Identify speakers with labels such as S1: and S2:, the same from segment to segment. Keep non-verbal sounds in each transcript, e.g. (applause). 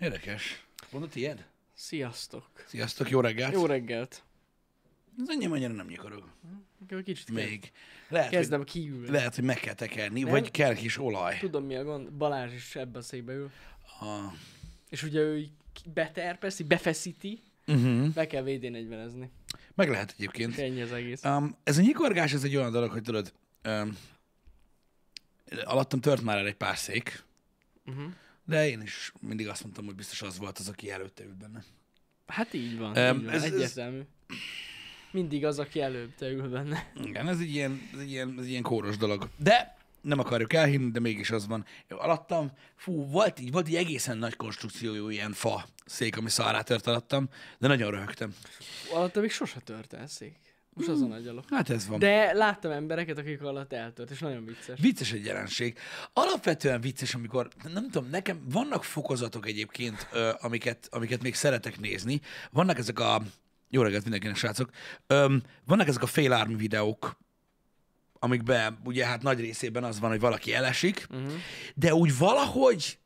S1: Érdekes. Mondod tiéd?
S2: Sziasztok!
S1: Sziasztok, jó reggelt!
S2: Jó reggelt!
S1: Ez ennyi annyira nem nyikorog.
S2: Akkor Kicsit kezd-
S1: Még. Lehet,
S2: kezdem kiülni.
S1: Hogy, lehet, hogy meg kell tekerni,
S2: Nem?
S1: vagy kell kis olaj.
S2: Tudom mi a gond, Balázs is ebben a székbe ül.
S1: A...
S2: És ugye ő így ki- beterpeszi, befeszíti,
S1: Uh-huh.
S2: be kell VD40-ezni.
S1: Meg lehet egyébként.
S2: És Ennyi az egész.
S1: Um, ez a nyikorgás, ez egy olyan dolog, hogy tudod, um, alattam tört már el egy pár szék,
S2: Uh-huh.
S1: de én is mindig azt mondtam, hogy biztos az volt az, aki előtte ült benne.
S2: Hát így van,
S1: Em,
S2: um, így van
S1: ez-
S2: ez,
S1: ez-
S2: egyértelmű. Mindig az, aki előbb te ül benne.
S1: Igen, ez egy ilyen, ez egy ilyen, ez egy ilyen kóros dolog. De nem akarjuk elhinni, de mégis az van. Jó, Alattam, fú, volt így, volt egy egészen nagy konstrukciójú ilyen fa szék, ami szarrá tört alattam, de nagyon röhögtem.
S2: Alatta még sose tört el szék. Most azon agyalok.
S1: Hát ez van. De...
S2: De láttam embereket, akik alatt eltört, és nagyon vicces.
S1: Vicces egy jelenség. Alapvetően vicces, amikor, nem tudom, nekem vannak fokozatok egyébként, ö, amiket, amiket még szeretek nézni. Vannak ezek a, jó reggelt mindenkinek, srácok, Öm, vannak ezek a fél army videók, amikben ugye hát nagy részében az van, hogy valaki elesik,
S2: Uh-huh.
S1: de úgy valahogy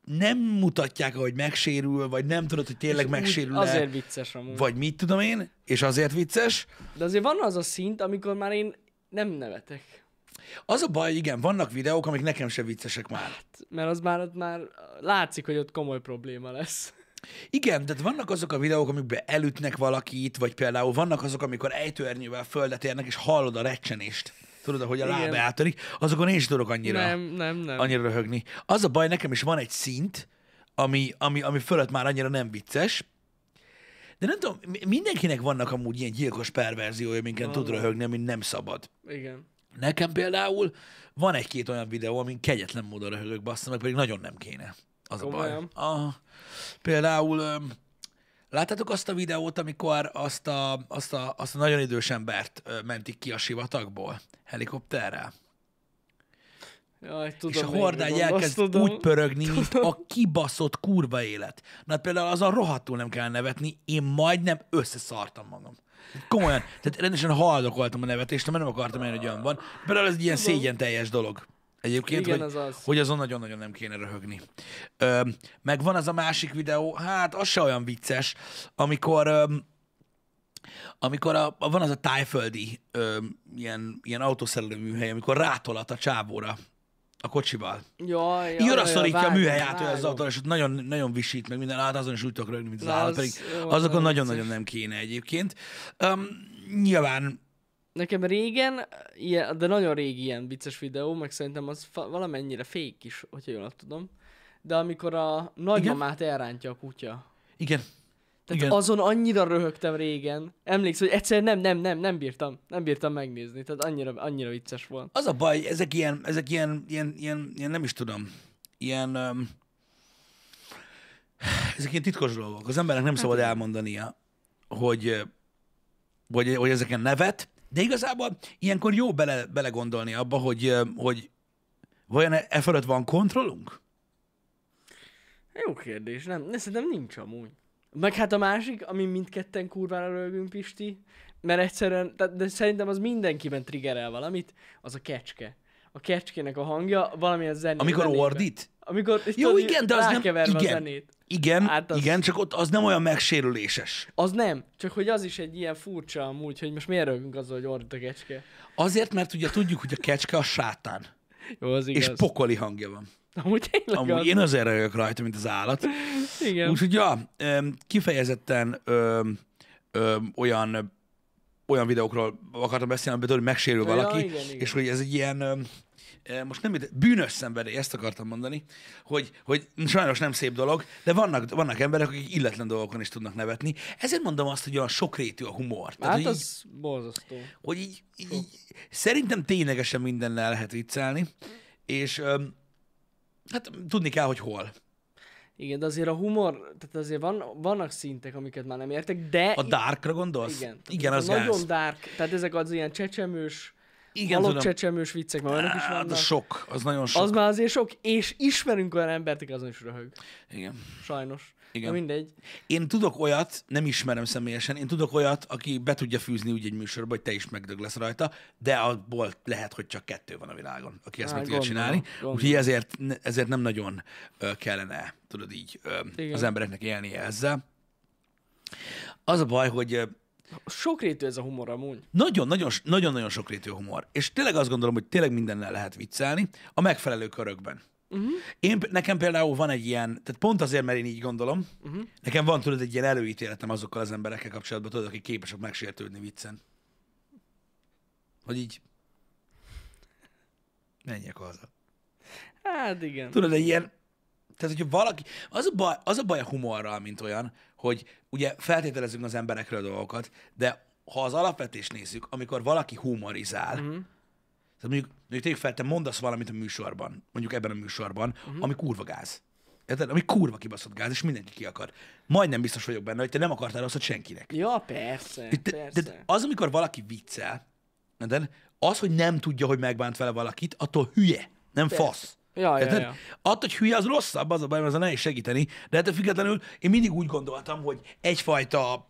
S1: nem mutatják, hogy megsérül, vagy nem tudod, hogy tényleg megsérül
S2: Azért vicces amúgy.
S1: vagy mit tudom én, és azért vicces.
S2: De azért van az a szint, amikor már én nem nevetek.
S1: Az a baj, igen, vannak videók, amik nekem se viccesek már.
S2: Mert az már, ott már látszik, hogy ott komoly probléma lesz.
S1: Igen, tehát vannak azok a videók, amikben elütnek valakit, vagy például vannak azok, amikor ejtőernyővel földet érnek, és hallod a recsenést. Tudod, ahogy a
S2: Igen.
S1: lába eltörik, azokon én is tudok annyira.
S2: Nem, nem, nem.
S1: annyira röhögni. Az a baj, nekem is van egy szint, ami, ami, ami fölött már annyira nem vicces, de nem tudom, mi- mindenkinek vannak amúgy ilyen gyilkos perverziója, minket tud röhögni, amin nem szabad.
S2: Igen.
S1: Nekem például van egy-két olyan videó, amin kegyetlen módon röhögök bassza, meg pedig nagyon nem kéne. Az a
S2: Komolyan?
S1: baj. Aha. Például öm, láttátok azt a videót, amikor azt a, azt a, azt a nagyon idős embert ö, mentik ki a sivatagból helikopterrel?
S2: Jaj, tudom,
S1: és a
S2: melyikre
S1: hordágy
S2: gondolsz,
S1: elkezd
S2: tudom.
S1: úgy pörögni, mint a kibaszott kurva élet. Na hát például azon rohadtul nem kell nevetni, én majdnem összeszartam magam. Komolyan, tehát rendesen haldokoltam a nevetést, mert nem akartam elni, hogy olyan van. Például ez egy ilyen szégyen teljes dolog. Egyébként,
S2: Igen,
S1: hogy,
S2: az az.
S1: hogy azon nagyon-nagyon nem kéne röhögni. Ö, meg van az a másik videó, hát az se olyan vicces, amikor öm, amikor a, a, van az a tájföldi ö, ilyen, ilyen autószerelő műhely, amikor rátolat a csávóra a kocsival.
S2: Jaj, jaj,
S1: Így arra
S2: jaj,
S1: szorítja a
S2: vágom,
S1: műhely át az
S2: vágom.
S1: autó, és ott nagyon, nagyon visít, meg minden, hát azon is úgy tudok rögni, mint az
S2: Na,
S1: állat,
S2: az-
S1: pedig
S2: jó, az
S1: azokon
S2: nagyon
S1: nagyon-nagyon nem kéne egyébként. Um, nyilván,
S2: Nekem régen, ilyen, de nagyon régi ilyen vicces videó, meg szerintem az fa- valamennyire fék is, hogyha jól tudom. De amikor a nagymamát elrántja a kutya.
S1: igen,
S2: Tehát
S1: Igen.
S2: Igen. azon annyira röhögtem régen. Emlékszem, hogy egyszer nem, nem, nem, nem bírtam. Nem bírtam megnézni. Tehát annyira, annyira vicces volt.
S1: az a baj, ezek ilyen, ezek ilyen, ilyen, ilyen, ilyen nem is tudom, ilyen, um, ezek ilyen titkos dolgok. Az embernek
S2: Hát
S1: nem szabad elmondania, hogy, ö, hogy, hogy ezeken nevet, de igazából ilyenkor jó bele, belegondolni abba, hogy, ö, hogy vajon e e fölött van kontrollunk?
S2: Jó kérdés, nem? Ne, szerintem nincs amúgy. Meg hát a másik, ami mindketten kurvára rögünk, Pisti, mert egyszerűen, tehát, de szerintem az mindenkiben triggerel valamit, az a kecske. A kecskének a hangja valamilyen zené.
S1: Amikor
S2: zenébe.
S1: ordít?
S2: Amikor
S1: Jó,
S2: tudod,
S1: igen, de az nem...
S2: rákeverve A
S1: Igen,
S2: zenét.
S1: igen,
S2: Hát
S1: az...
S2: az-
S1: igen, csak ott az nem olyan megsérüléses.
S2: Az nem, csak hogy az is egy ilyen furcsa amúgy, hogy most miért rögünk azzal, hogy ordít a kecske.
S1: Azért, mert ugye tudjuk, hogy a kecske a sátán.
S2: Jó, az
S1: És
S2: igaz.
S1: pokoli hangja van.
S2: Amúgy tényleg
S1: Amúgy
S2: Amúgy
S1: én azért rögök rajta, mint az állat.
S2: az. Igen.
S1: Úgyhogy ja, öm, kifejezetten öm, öm, olyan olyan videókról akartam beszélni, amiben tudod, hogy megsérül
S2: Ja,
S1: valaki,
S2: igen, igen.
S1: és hogy ez egy ilyen, öm, ö, most nem ide- bűnös szenvedély, ezt akartam mondani, hogy, hogy sajnos nem szép dolog, de vannak, vannak emberek, akik illetlen dolgokon is tudnak nevetni. Ezért mondom azt, hogy olyan sokrétű a humor. Tehát,
S2: Hát
S1: hogy így-
S2: az borzasztó.
S1: hogy így, így, így szerintem ténylegesen mindennel lehet viccelni, és öm, hát tudni kell, hogy hol.
S2: Igen, de azért a humor, tehát azért van, vannak szintek, amiket már nem értek, de...
S1: A darkra gondolsz?
S2: igen, tehát
S1: Igen,
S2: ezek
S1: az
S2: a Nagyon
S1: gáz.
S2: dark, tehát ezek az ilyen csecsemős,
S1: Igen,
S2: halott
S1: tudom.
S2: csecsemős viccek, már olyanok is
S1: Hát,
S2: vannak.
S1: az sok, az nagyon sok.
S2: Az már azért sok, és ismerünk olyan embert, aki azon is röhög.
S1: Igen.
S2: Sajnos.
S1: Igen.
S2: Igen. mindegy.
S1: Én tudok olyat, nem ismerem személyesen, én tudok olyat, aki be tudja fűzni úgy egy műsorba, hogy te is megdög lesz rajta, de abból lehet, hogy csak kettő van a világon, aki ezt
S2: Hát,
S1: meg tudja
S2: gondolom,
S1: csinálni.
S2: gondolom.
S1: Úgyhogy ezért, ne- ezért nem nagyon ö, kellene, tudod így, ö,
S2: Igen.
S1: az embereknek élnie ezzel. Az a baj, hogy ö,
S2: Sokrétű ez a humor amúgy.
S1: nagyon-nagyon nagyon-nagyon sokrétű a humor. És tényleg azt gondolom, hogy tényleg mindennel lehet viccelni a megfelelő körökben. Uh-huh. Én, nekem például van egy ilyen, tehát pont azért, mert én így gondolom, uh-huh. nekem van tudod egy ilyen előítéletem azokkal az emberekkel kapcsolatban, tudod, akik képesek megsértődni viccen. Hogy így menjek haza.
S2: Hát igen.
S1: Tudod, egy ilyen... Tehát, hogyha valaki... Az a, baj, az a baj a humorral, mint olyan, hogy ugye feltételezünk az emberekről dolgokat, de ha az alapvetést nézzük, amikor valaki humorizál, uh-huh. tehát mondjuk, mondjuk tegyük fel, te mondasz valamit a műsorban, mondjuk ebben a műsorban, uh-huh. ami kurva gáz. Érted? Ami kurva kibaszott gáz, és mindenki ki akar. Majdnem biztos vagyok benne, hogy te nem akartál rosszat senkinek.
S2: Ja, persze,
S1: Te-
S2: persze.
S1: Tehát az, amikor valaki viccel, de az, hogy nem tudja, hogy megbánt vele valakit, attól hülye, nem
S2: Persze.
S1: fasz.
S2: Ja, ja,
S1: Érted?
S2: ja.
S1: Attól, hogy hülye, az rosszabb, az a baj, mert az nehéz segíteni. De ettől függetlenül én mindig úgy gondoltam, hogy egyfajta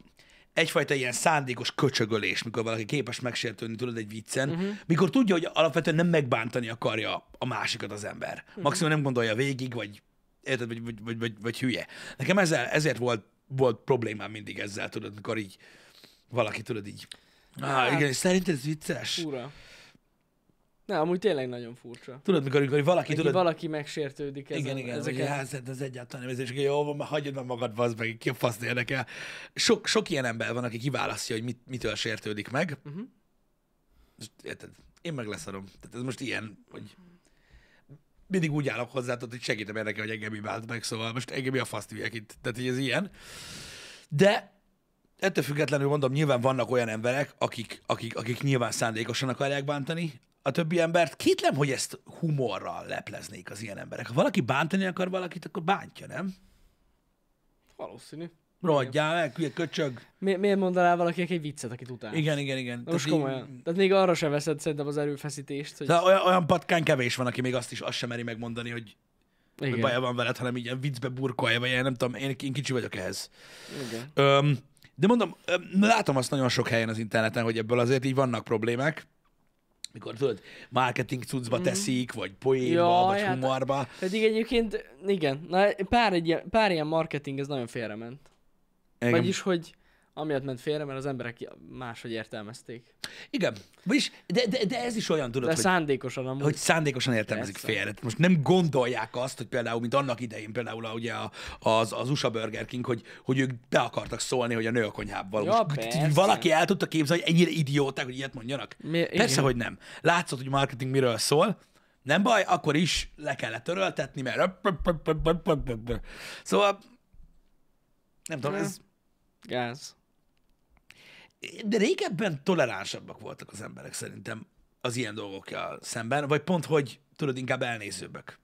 S1: egyfajta ilyen szándékos köcsögölés, mikor valaki képes megsértődni, tudod, egy viccen,
S2: Mhm.
S1: uh-huh. mikor tudja, hogy alapvetően nem megbántani akarja a másikat az ember.
S2: Mhm.
S1: Uh-huh. Maximum nem gondolja végig, vagy érted, vagy, vagy, vagy, vagy, vagy hülye. Nekem ezzel, ezért volt, volt problémám mindig ezzel, tudod, mikor így valaki, tudod, így. Ah,
S2: Hát.
S1: igen, szerinted ez vicces?
S2: Fura. Na, amúgy tényleg nagyon furcsa.
S1: Tudod, mikor, mikor valaki,
S2: Tudod,
S1: tudod,
S2: valaki megsértődik ezen,
S1: igen, igen, ezeket...
S2: ezeken.
S1: hát szerintem ez egyáltalán nem érzés, hogy jó, van, már hagyjad már magad, bazd meg, ki a fasz érdekel. Sok, sok ilyen ember van, aki kiválasztja, hogy mit, mitől sértődik meg.
S2: Mhm.
S1: Uh-huh. Érted? Én meg leszarom. Tehát ez most ilyen, hogy mindig úgy állok hozzá, tudod, hogy segítem érdekel, hogy engem mi vált meg, szóval most engem mi a fasz hülyek itt. Tehát így ez ilyen. De ettől függetlenül mondom, nyilván vannak olyan emberek, akik, akik, akik nyilván szándékosan akarják bántani a többi embert. Kétlem, hogy ezt humorral lepleznék az ilyen emberek. Ha valaki bántani akar valakit, akkor bántja, nem?
S2: Valószínű.
S1: Rohadjál meg, hülye köcsög.
S2: Mi, miért mondaná valakinek egy viccet, akit utál?
S1: Igen, igen, igen.
S2: Na most
S1: Tehát így-
S2: komolyan. Tehát még arra sem veszed szerintem az erőfeszítést, hogy...
S1: Tehát olyan, olyan patkány kevés van, aki még azt is azt sem meri megmondani, hogy, hogy baja
S2: igen,
S1: van veled, hanem így a viccbe burkolja, vagy ilyen, nem tudom, én, én kicsi vagyok ehhez.
S2: igen.
S1: Öm, de mondom, öm, látom azt nagyon sok helyen az interneten, hogy ebből azért így vannak problémák, mikor tudod, marketing cuccba teszik, vagy poénba,
S2: Mhm. Jaj,
S1: vagy
S2: hát-
S1: humorba.
S2: Pedig egyébként, igen, na, pár, egy, ilyen- pár ilyen marketing, ez nagyon félrement.
S1: Igen.
S2: Vagyis, hogy amiatt ment félre, mert az emberek máshogy értelmezték.
S1: Igen. Vagyis, de, de, de ez is olyan, tudod,
S2: De
S1: hogy,
S2: szándékosan amúgy.
S1: hogy szándékosan értelmezik
S2: Persze.
S1: félre. Most nem gondolják azt, hogy például, mint annak idején, például a, ugye a, az, az USA Burger King, hogy, hogy ők be akartak szólni, hogy a nő a konyhában.
S2: Ja,
S1: Most
S2: persze.
S1: valaki el tudta képzelni, hogy ennyire idióták, hogy ilyet mondjanak?
S2: Mi-
S1: Persze,
S2: igen.
S1: hogy nem. Látszott, hogy marketing miről szól, nem baj, akkor is le kellett töröltetni, mert... Szóval, nem tudom, ez...
S2: Gáz.
S1: De régebben toleránsabbak voltak az emberek szerintem az ilyen dolgokkal szemben, vagy pont, hogy tudod, inkább elnézőbbek.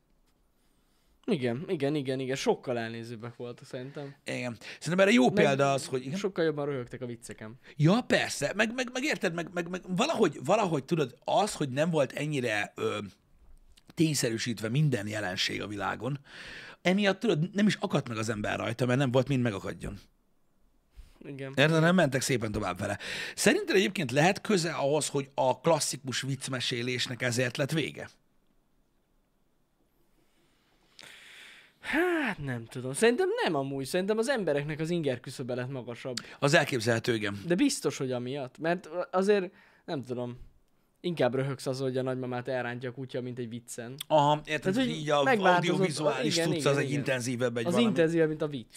S2: Igen, igen, igen, igen. Sokkal elnézőbbek voltak szerintem.
S1: Igen. Szerintem erre jó példa az, hogy... Igen.
S2: Sokkal jobban röhögtek a viccekem.
S1: Ja, persze, meg, meg, meg érted, meg, meg, meg valahogy, valahogy tudod, az, hogy nem volt ennyire ö, tényszerűsítve minden jelenség a világon, emiatt tudod, nem is akadt meg az ember rajta, mert nem volt mind megakadjon.
S2: Igen.
S1: Érted? Nem mentek szépen tovább vele. Szerinted egyébként lehet köze ahhoz, hogy a klasszikus viccmesélésnek ezért lett vége?
S2: Hát nem tudom. Szerintem nem amúgy. Szerintem az embereknek az inger küszöbe lett magasabb.
S1: Az elképzelhető, igen.
S2: De biztos, hogy amiatt. Mert azért, nem tudom, inkább röhögsz az, hogy a nagymamát elrántja a kutya, mint egy viccen.
S1: Aha, érted,
S2: Tehát,
S1: Tehát,
S2: hogy
S1: így a
S2: megváltozott-
S1: audiovizuális
S2: igen,
S1: tudsz,
S2: igen,
S1: az egy
S2: igen.
S1: intenzívebb, egy
S2: Az
S1: valami.
S2: intenzív, mint a vicc.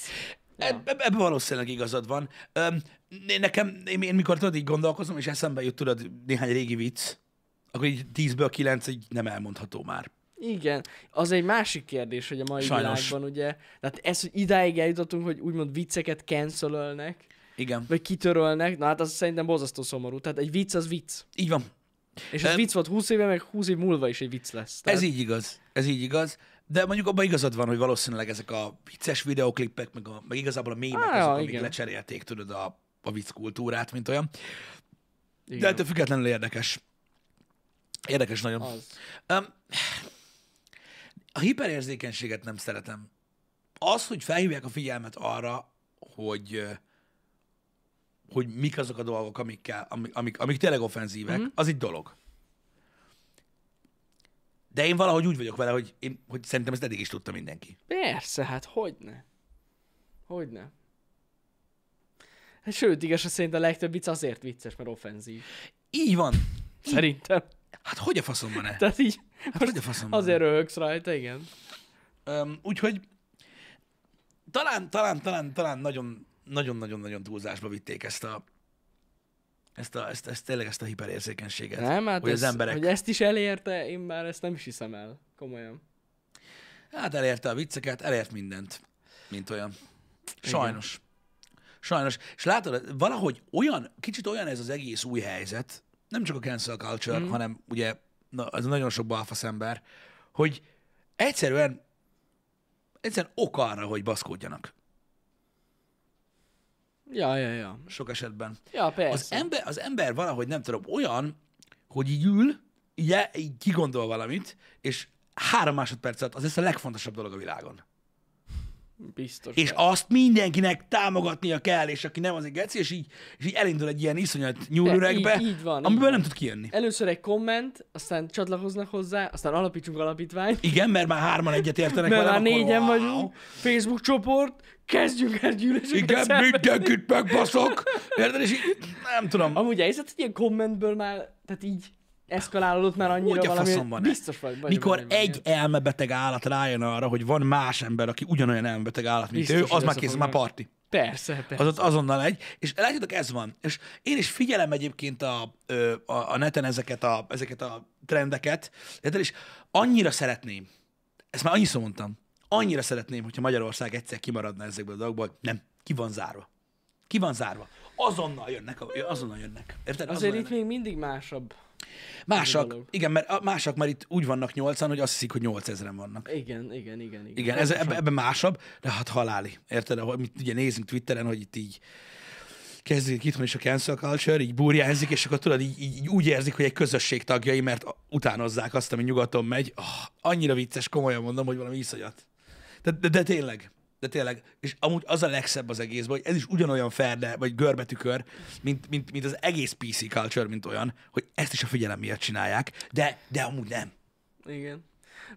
S1: Eb- eb- Ebben valószínűleg igazad van. Öm, né- nekem, én, én mikor tudod, így gondolkozom, és eszembe jut tudod néhány régi vicc, akkor így 10-ből 9 így nem elmondható már.
S2: Igen, az egy másik kérdés, hogy a mai
S1: Sajnos.
S2: Sajnos. világban ugye, tehát ez, hogy idáig eljutottunk, hogy úgymond vicceket cancelölnek,
S1: Igen.
S2: vagy kitörölnek, na hát az szerintem borzasztó szomorú. Tehát egy vicc az vicc.
S1: Így van.
S2: És ez
S1: Em-
S2: vicc volt 20 éve, meg 20 év múlva is egy vicc lesz. Tehát
S1: Ez így igaz. Ez így igaz. De mondjuk abban igazad van, hogy valószínűleg ezek a vicces videoklipek, meg, a, meg igazából a mémek
S2: Á,
S1: azok, amik
S2: igen.
S1: lecserélték, tudod, a, a vicc kultúrát, mint olyan.
S2: igen.
S1: De ettől függetlenül érdekes. Érdekes nagyon.
S2: Az.
S1: Um, a hiperérzékenységet nem szeretem. Az, hogy felhívják a figyelmet arra, hogy ö, hogy mik azok a dolgok, amikkel, amik, amik, amik tényleg offenzívek, az egy dolog. De én valahogy úgy vagyok vele, hogy, én, hogy szerintem ezt eddig is tudta mindenki.
S2: Persze, hát hogyne. Hogyne. Hát sőt, igaz, hogy szerint a legtöbb vicc azért vicces, mert offenzív.
S1: Így van.
S2: Szerintem.
S1: Hát hogy a faszomban ne?
S2: Tehát így
S1: Hát hogy a faszomban
S2: azért röhögsz rajta, igen.
S1: Öm, úgyhogy talán, talán, talán, talán nagyon, nagyon, nagyon, nagyon túlzásba vitték ezt a, ezt, a, ezt, ezt tényleg ezt a hiperérzékenységet.
S2: Nem, hát
S1: hogy
S2: ez,
S1: az emberek,
S2: hogy ezt is elérte, én már ezt nem is hiszem el. Komolyan.
S1: hát elérte a vicceket, elért mindent, mint olyan. Sajnos. Sajnos. És látod, valahogy olyan, kicsit olyan ez az egész új helyzet, nem csak a cancel culture, mm. hanem ugye na, az nagyon sok balfasz ember, hogy egyszerűen, egyszerűen ok arra, hogy baszkódjanak.
S2: Ja, ja, ja.
S1: Sok esetben.
S2: Ja,
S1: Az
S2: persze.
S1: ember, az ember valahogy nem tudom, olyan, hogy így ül, így, el- így kigondol valamit, és három másodperc alatt az lesz a legfontosabb dolog a világon.
S2: Biztos.
S1: És azt mindenkinek támogatnia kell, és aki nem, az egy geci, és így, és így elindul egy ilyen iszonyat nyúlüregbe,
S2: így- így van, így
S1: amiből
S2: van.
S1: nem tud kijönni.
S2: Először egy komment, aztán csatlakoznak hozzá, aztán alapítsunk alapítványt,
S1: Igen, mert már hárman egyet értenek
S2: mert
S1: velem,
S2: már
S1: akkor
S2: négyen
S1: wow.
S2: vagyunk, Facebook csoport, kezdjünk el gyűléseket
S1: Igen,
S2: szervezni.
S1: mindenkit megbaszok. Érted? És így, nem tudom.
S2: Amúgy a helyzet, hogy ilyen kommentből már, tehát így eszkalálódott már annyira
S1: Hogy a
S2: valami,
S1: faszom van
S2: biztos vagy. vagy
S1: Mikor
S2: vagy,
S1: egy elmebeteg állat rájön arra, hogy van más ember, aki ugyanolyan elmebeteg állat, mint
S2: Biztos,
S1: ő,
S2: hogy
S1: az már kész,
S2: összefognak.
S1: már parti.
S2: Persze, persze.
S1: Az ott azonnal egy. És látjátok, ez van. És én is figyelem egyébként a, ö, a, a neten ezeket a, ezeket a trendeket, érted? és annyira szeretném, ezt már annyiszor mondtam, annyira szeretném, hogyha Magyarország egyszer kimaradna ezekből a dolgokból, nem, ki van zárva. Ki van zárva. Azonnal jönnek, a- azonnal jönnek. Érted? Azonnal
S2: Azért
S1: jönnek.
S2: itt még mindig másabb.
S1: Másak,
S2: dolog.
S1: igen, mert a- másak már itt úgy vannak nyolcan, hogy azt hiszik, hogy nyolcezren vannak.
S2: Igen, igen, igen. Igen,
S1: Igen, ez, ebben ebbe másabb, de hát haláli. Érted? Ahogy mit ugye nézünk Twitteren, hogy itt így kezdődik itthon is a cancel culture, így burjánzik, és akkor tudod, így, így, így úgy érzik, hogy egy közösség tagjai, mert a- utánozzák azt, ami nyugaton megy. Oh, annyira vicces, komolyan mondom, hogy valami iszonyat. De, de, de tényleg, de tényleg. És amúgy az a legszebb az egészben, hogy ez is ugyanolyan ferde, vagy görbetükör, mint, mint, mint az egész PC culture, mint olyan, hogy ezt is a figyelem miatt csinálják, de, de amúgy nem.
S2: Igen.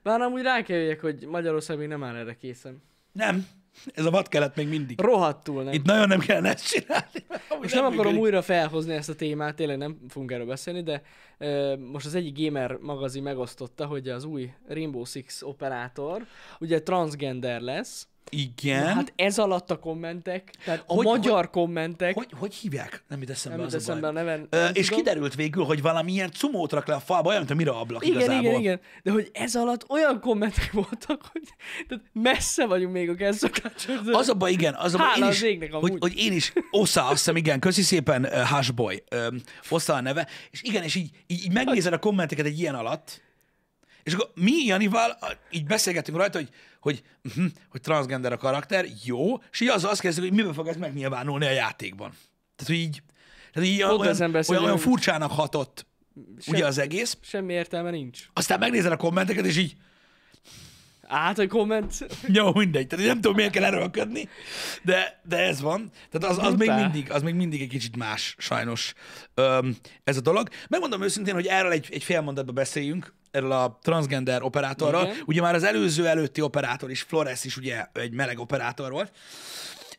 S2: Bár amúgy rá kell jöjjek, hogy Magyarország még nem áll erre készen.
S1: Nem. Ez a vad kelet még mindig.
S2: Rohadtul nem.
S1: Itt nagyon nem kellene ezt csinálni.
S2: Most nem, akarom újra felhozni ezt a témát, tényleg nem fogunk erről beszélni, de ö, most az egyik gamer magazin megosztotta, hogy az új Rainbow Six operátor ugye transgender lesz.
S1: Igen.
S2: Na, hát ez alatt a kommentek, tehát a
S1: Hogy-
S2: magyar kommentek,
S1: hogy, hogy hívják? Nem jut eszembe
S2: nem
S1: az
S2: jut eszembe
S1: a
S2: a
S1: baj.
S2: neven.
S1: Ö,
S2: nem
S1: és
S2: tudom.
S1: kiderült végül, hogy valamilyen cumót rak le a falba, olyan, mint a mira ablak
S2: Igen,
S1: igazából.
S2: igen, igen. De hogy ez alatt olyan kommentek (laughs) voltak, hogy tehát messze vagyunk még a kezdőkácsodon.
S1: Az a baj, igen, az a baj,
S2: Hála
S1: én
S2: az
S1: is,
S2: égnek
S1: hogy,
S2: amúgy.
S1: hogy én is, Osza, azt hiszem, igen, köszi szépen, uh, Hashboy, um, Osza a neve, és igen, és így, így, így megnézed a kommenteket egy ilyen alatt, és akkor mi Janival a- így beszélgetünk rajta, hogy, hogy, uh-huh, hogy transgender a karakter, jó, és így azzal azt kezdjük, hogy miben fog ez megnyilvánulni a játékban. Tehát, hogy így, tehát így olyan,
S2: ezen
S1: olyan,
S2: beszélünk.
S1: olyan furcsának hatott
S2: Sem-
S1: ugye az egész,
S2: Semmi értelme nincs.
S1: aztán megnézel a kommenteket, és így,
S2: Hát, hogy komment...
S1: (laughs) jó, mindegy. Tehát nem tudom, miért kell erőlködni, de, de ez van. Tehát az, az, még
S2: Brutál.
S1: mindig, az még mindig egy kicsit más, sajnos öm, ez a dolog. Megmondom őszintén, hogy erről egy, egy fél mondatba beszéljünk, erről a transgender operátorról.
S2: Igen.
S1: Ugye már az előző előtti operátor is, Flores is ugye egy meleg operátor volt.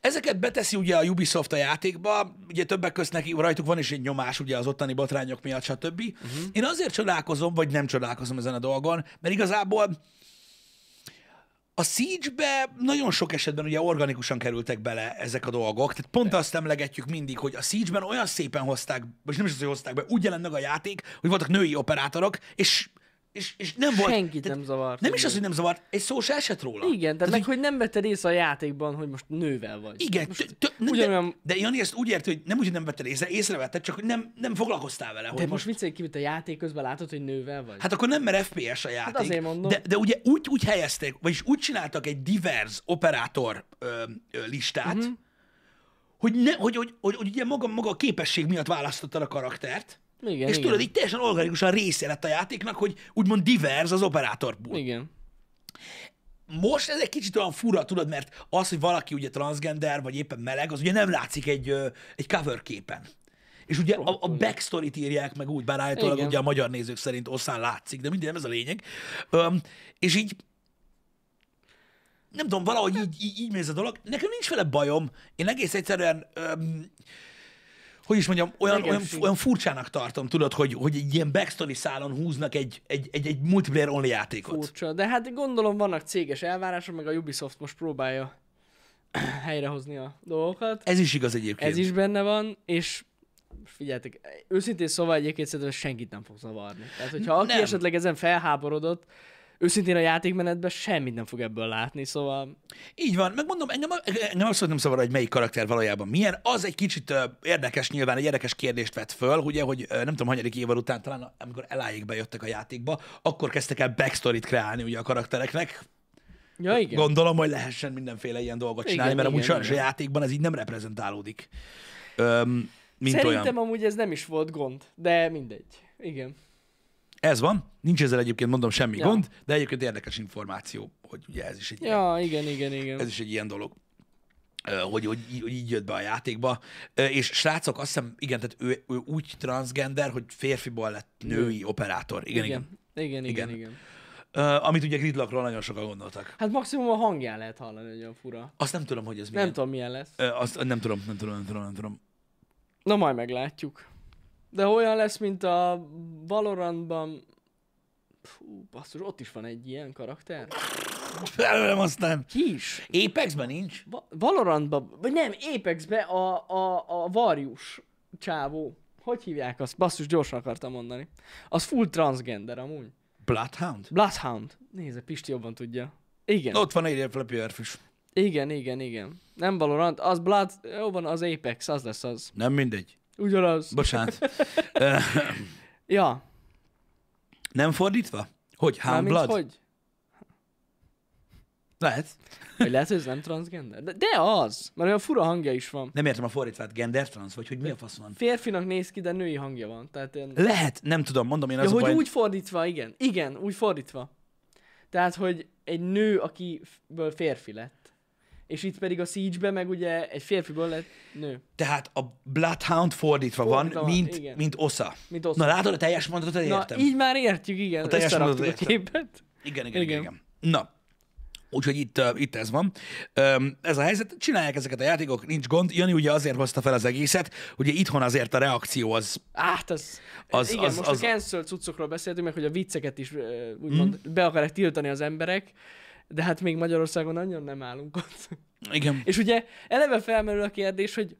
S1: Ezeket beteszi ugye a Ubisoft a játékba, ugye többek közt neki, rajtuk van is egy nyomás ugye az ottani botrányok miatt, stb.
S2: Mhm.
S1: Uh-huh. Én azért csodálkozom, vagy nem csodálkozom ezen a dolgon, mert igazából a Siege-be nagyon sok esetben ugye organikusan kerültek bele ezek a dolgok, tehát pont azt emlegetjük mindig, hogy a Siege-ben olyan szépen hozták, vagy nem is az, hogy hozták be, úgy jelent meg a játék, hogy voltak női operátorok, és, és, és nem volt...
S2: Senkit
S1: tehát
S2: nem zavart.
S1: Nem is az, hogy nem zavart, egy szó se esett róla.
S2: Igen, tehát
S1: hogy
S2: meg, hogy nem vetted észre a játékban, hogy most nővel vagy.
S1: igen,
S2: Most
S1: tö- tö- nem, de,
S2: ugyanolyan-
S1: de Jani ezt úgy érti, hogy nem úgy, hogy nem vetted észre, észrevetted, csak hogy nem, nem foglalkoztál vele.
S2: De
S1: Hogy
S2: most viccelj ki, hogy a játék közben látod, hogy nővel vagy.
S1: Hát akkor nem, mert FPS a játék.
S2: Hát azért mondom.
S1: De, de ugye úgy, úgy helyezték, vagyis úgy csináltak egy divers operátor ö, ö, listát,
S2: Mhm.
S1: hogy, ne, hogy, hogy, hogy, hogy ugye maga, maga a képesség miatt választottad a karaktert,
S2: Igen,
S1: és
S2: igen.
S1: tudod, így teljesen organikusan része lett a játéknak, hogy úgymond divers az operátorból.
S2: Igen.
S1: Most ez egy kicsit olyan fura, tudod, mert az, hogy valaki ugye transgender, vagy éppen meleg, az ugye nem látszik egy, ö, egy cover képen. És ugye a, a backstory-t írják meg úgy, bár állítólag
S2: Igen.
S1: ugye a magyar nézők szerint oszán látszik, de mindig nem ez a lényeg. Öm, és így nem tudom, valahogy
S2: Hát
S1: így, így, így mész a dolog. Nekem nincs vele bajom. Én egész egyszerűen, öm, hogy is mondjam, olyan,
S2: Nekem
S1: olyan,
S2: sincs.
S1: olyan furcsának tartom, tudod, hogy, hogy egy ilyen backstory szálon húznak egy, egy, egy, egy multiplayer-only játékot.
S2: Furcsa. De hát gondolom vannak céges elvárások, meg a Ubisoft most próbálja (clears throat) helyrehozni a dolgokat.
S1: Ez is igaz egyébként.
S2: Ez is benne van, és figyeljetek, őszintén szóval egyébként szerintem ez senkit nem fog zavarni. Tehát, hogyha aki
S1: Nem.
S2: esetleg ezen felháborodott, őszintén a játékmenetben semmit nem fog ebből látni, szóval
S1: Így van, megmondom, engem, engem abszolút nem zavar, hogy melyik karakter valójában milyen. Az egy kicsit ö, érdekes nyilván, egy érdekes kérdést vett föl, ugye, hogy ö, nem tudom, hanyadik évad után talán, amikor eláig bejöttek a játékba, akkor kezdtek el backstory-t kreálni ugye a karaktereknek.
S2: ja igen.
S1: Gondolom, hogy lehessen mindenféle ilyen dolgot
S2: Igen,
S1: csinálni, mert amúgy
S2: igen,
S1: sajnos a
S2: igen.
S1: játékban ez így nem reprezentálódik. Öm, mint
S2: Szerintem
S1: olyan.
S2: amúgy ez nem is volt gond, de mindegy. Igen.
S1: Ez van, nincs ezzel egyébként mondom semmi
S2: Ja.
S1: gond, de egyébként érdekes információ, hogy ugye ez is egy ilyen
S2: Ja, igen, igen, igen.
S1: ez is egy ilyen dolog. Ö, Hogy, hogy, í- hogy így jött be a játékba. Ö, És srácok, azt hiszem, igen, tehát ő, ő úgy transgender, hogy férfiból lett női operátor. Igen, igen. igen.
S2: Igen, igen, igen.
S1: Igen.
S2: igen.
S1: Ö, Amit ugye Gridlockról nagyon sokan gondoltak.
S2: Hát maximum a hangján lehet hallani, hogy olyan fura.
S1: Azt nem tudom, hogy ez milyen.
S2: Nem tudom, milyen lesz.
S1: Ö, Azt nem tudom, nem tudom, nem tudom, nem tudom.
S2: Na majd meglátjuk. De olyan lesz, mint a Valorantban... Fú, basszus, ott is van egy ilyen karakter.
S1: Felőlem aztán.
S2: Ki is?
S1: Apexben nincs?
S2: Va- Valorantban, vagy nem, Apexbe a, a, a Varjus csávó. Hogy hívják azt? Basszus, gyorsan akartam mondani. Az full transgender amúgy.
S1: Bloodhound?
S2: Bloodhound. Nézze, Pisti jobban tudja. Igen,
S1: Ott van egy Flappy Earfish.
S2: igen, igen, igen. Nem Valorant, az Blood, jó van, az Apex, az lesz az.
S1: Nem mindegy.
S2: Ugyanaz. (laughs)
S1: Bocsánat.
S2: ja,
S1: Nem fordítva? Hogy? Hound
S2: mármint
S1: Blood?
S2: hogy?
S1: Lehet.
S2: Vagy lehet, hogy ez nem transgender? De, de az! Mert olyan fura hangja is van.
S1: Nem értem a fordítvát. Gender trans? Vagy hogy mi a fasz van?
S2: Férfinak néz ki, de női hangja van. Tehát ilyen...
S1: Lehet, nem tudom, mondom én az
S2: Ja,
S1: a
S2: hogy
S1: baj-
S2: úgy fordítva, igen. Igen, úgy fordítva. Tehát, hogy egy nő, akiből férfi lett. És itt pedig a siege meg ugye egy férfiből lett nő.
S1: Tehát a Bloodhound fordítva van,
S2: Fordítva van,
S1: mint,
S2: igen.
S1: mint osza.
S2: Mint osza.
S1: Na látod a teljes mondatot,
S2: Na,
S1: értem.
S2: így már értjük, igen.
S1: A
S2: A
S1: teljes
S2: Összeraktuk a
S1: mondatot
S2: képet.
S1: Igen, igen, igen,
S2: Igen.
S1: igen. Na, úgyhogy itt, ö, itt ez van. Öm, ez a helyzet, csinálják ezeket a játékok, nincs gond. Jani ugye azért hozta fel az egészet, ugye itthon azért a reakció az,
S2: Hát az...
S1: Az-
S2: az igen,
S1: az-
S2: most
S1: az-
S2: a cancel cuccokról beszéltünk, meg hogy a vicceket is ö, úgymond
S1: Hmm?
S2: be akarják tiltani az emberek, de hát még Magyarországon nagyon nem állunk ott.
S1: igen,
S2: És ugye eleve felmerül a kérdés, hogy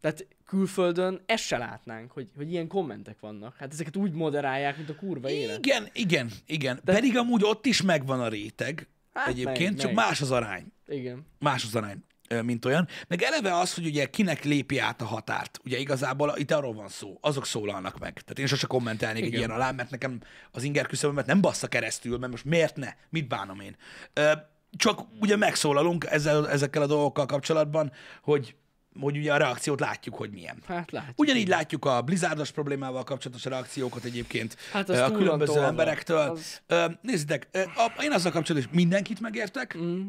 S2: tehát külföldön ezt se látnánk, hogy, hogy ilyen kommentek vannak. Hát ezeket úgy moderálják, mint a kurva élet.
S1: igen, igen, igen. Pedig amúgy ott is megvan a réteg,
S2: Hát
S1: egyébként,
S2: meg-
S1: csak
S2: meg.
S1: más az arány.
S2: Igen.
S1: más az arány, ö, mint olyan. Meg eleve az, hogy ugye kinek lépi át a határt. Ugye igazából itt arról van szó, azok szólalnak meg. Tehát én sose kommentelnék egy
S2: Igen.
S1: ilyen alá, mert nekem az inger küszöbömet nem bassza keresztül, mert most miért ne? Mit bánom én? Ö, Csak ugye megszólalunk ezzel, ezekkel a dolgokkal kapcsolatban, hogy, hogy ugye a reakciót látjuk, hogy milyen.
S2: Hát látjuk.
S1: Ugyanígy látjuk a blizzárdos problémával kapcsolatos reakciókat egyébként
S2: Hát
S1: ö,
S2: az
S1: a
S2: túl van
S1: különböző
S2: tolva.
S1: emberektől.
S2: Az-
S1: Ö, Nézzétek, ö, a- én azzal kapcsolatban is mindenkit megértek,
S2: Mm.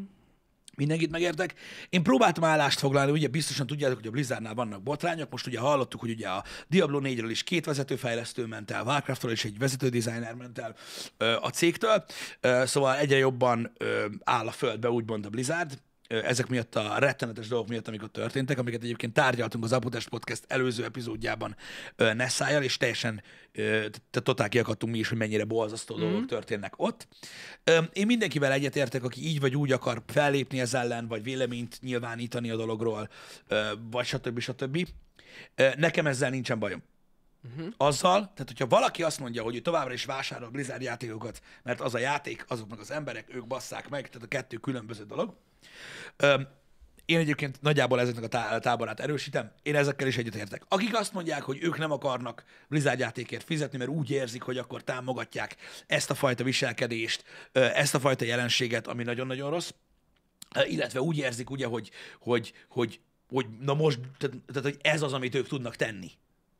S1: Mindenkit megértek. Én próbáltam állást foglalni, ugye biztosan tudjátok, hogy a Blizzardnál vannak botrányok. Most ugye hallottuk, hogy ugye a Diablo 4-ről is két vezetőfejlesztő ment el, Warcraftról is egy vezető designer ment el ö, a cégtől. Ö, szóval egyre jobban ö, áll a földbe, úgymond a Blizzard. Ö, ezek miatt a rettenetes dolgok miatt, amik ott történtek, amiket egyébként tárgyaltunk az Apotest Podcast előző epizódjában ö, Nessájjal, és teljesen ö, tehát totál kiakadtunk mi is, hogy mennyire borzasztó dolgok történnek ott. Öm, Én mindenkivel egyetértek, aki így vagy úgy akar fellépni ez ellen, vagy véleményt nyilvánítani a dologról, ö, vagy stb. stb. Ö, Nekem ezzel nincsen bajom. Azzal, tehát hogyha valaki azt mondja, hogy ő továbbra is vásárol Blizzard játékokat, mert az a játék, azoknak az emberek, ők basszák meg, tehát a kettő különböző dolog. Öm, Én egyébként nagyjából ezeknek a tá- táborát erősítem, én ezekkel is egyetértek. Akik azt mondják, hogy ők nem akarnak Blizzard játékért fizetni, mert úgy érzik, hogy akkor támogatják ezt a fajta viselkedést, ö, ezt a fajta jelenséget, ami nagyon-nagyon rossz, illetve úgy érzik ugye, hogy, hogy, hogy, hogy na most, tehát, tehát, hogy ez az, amit ők tudnak tenni.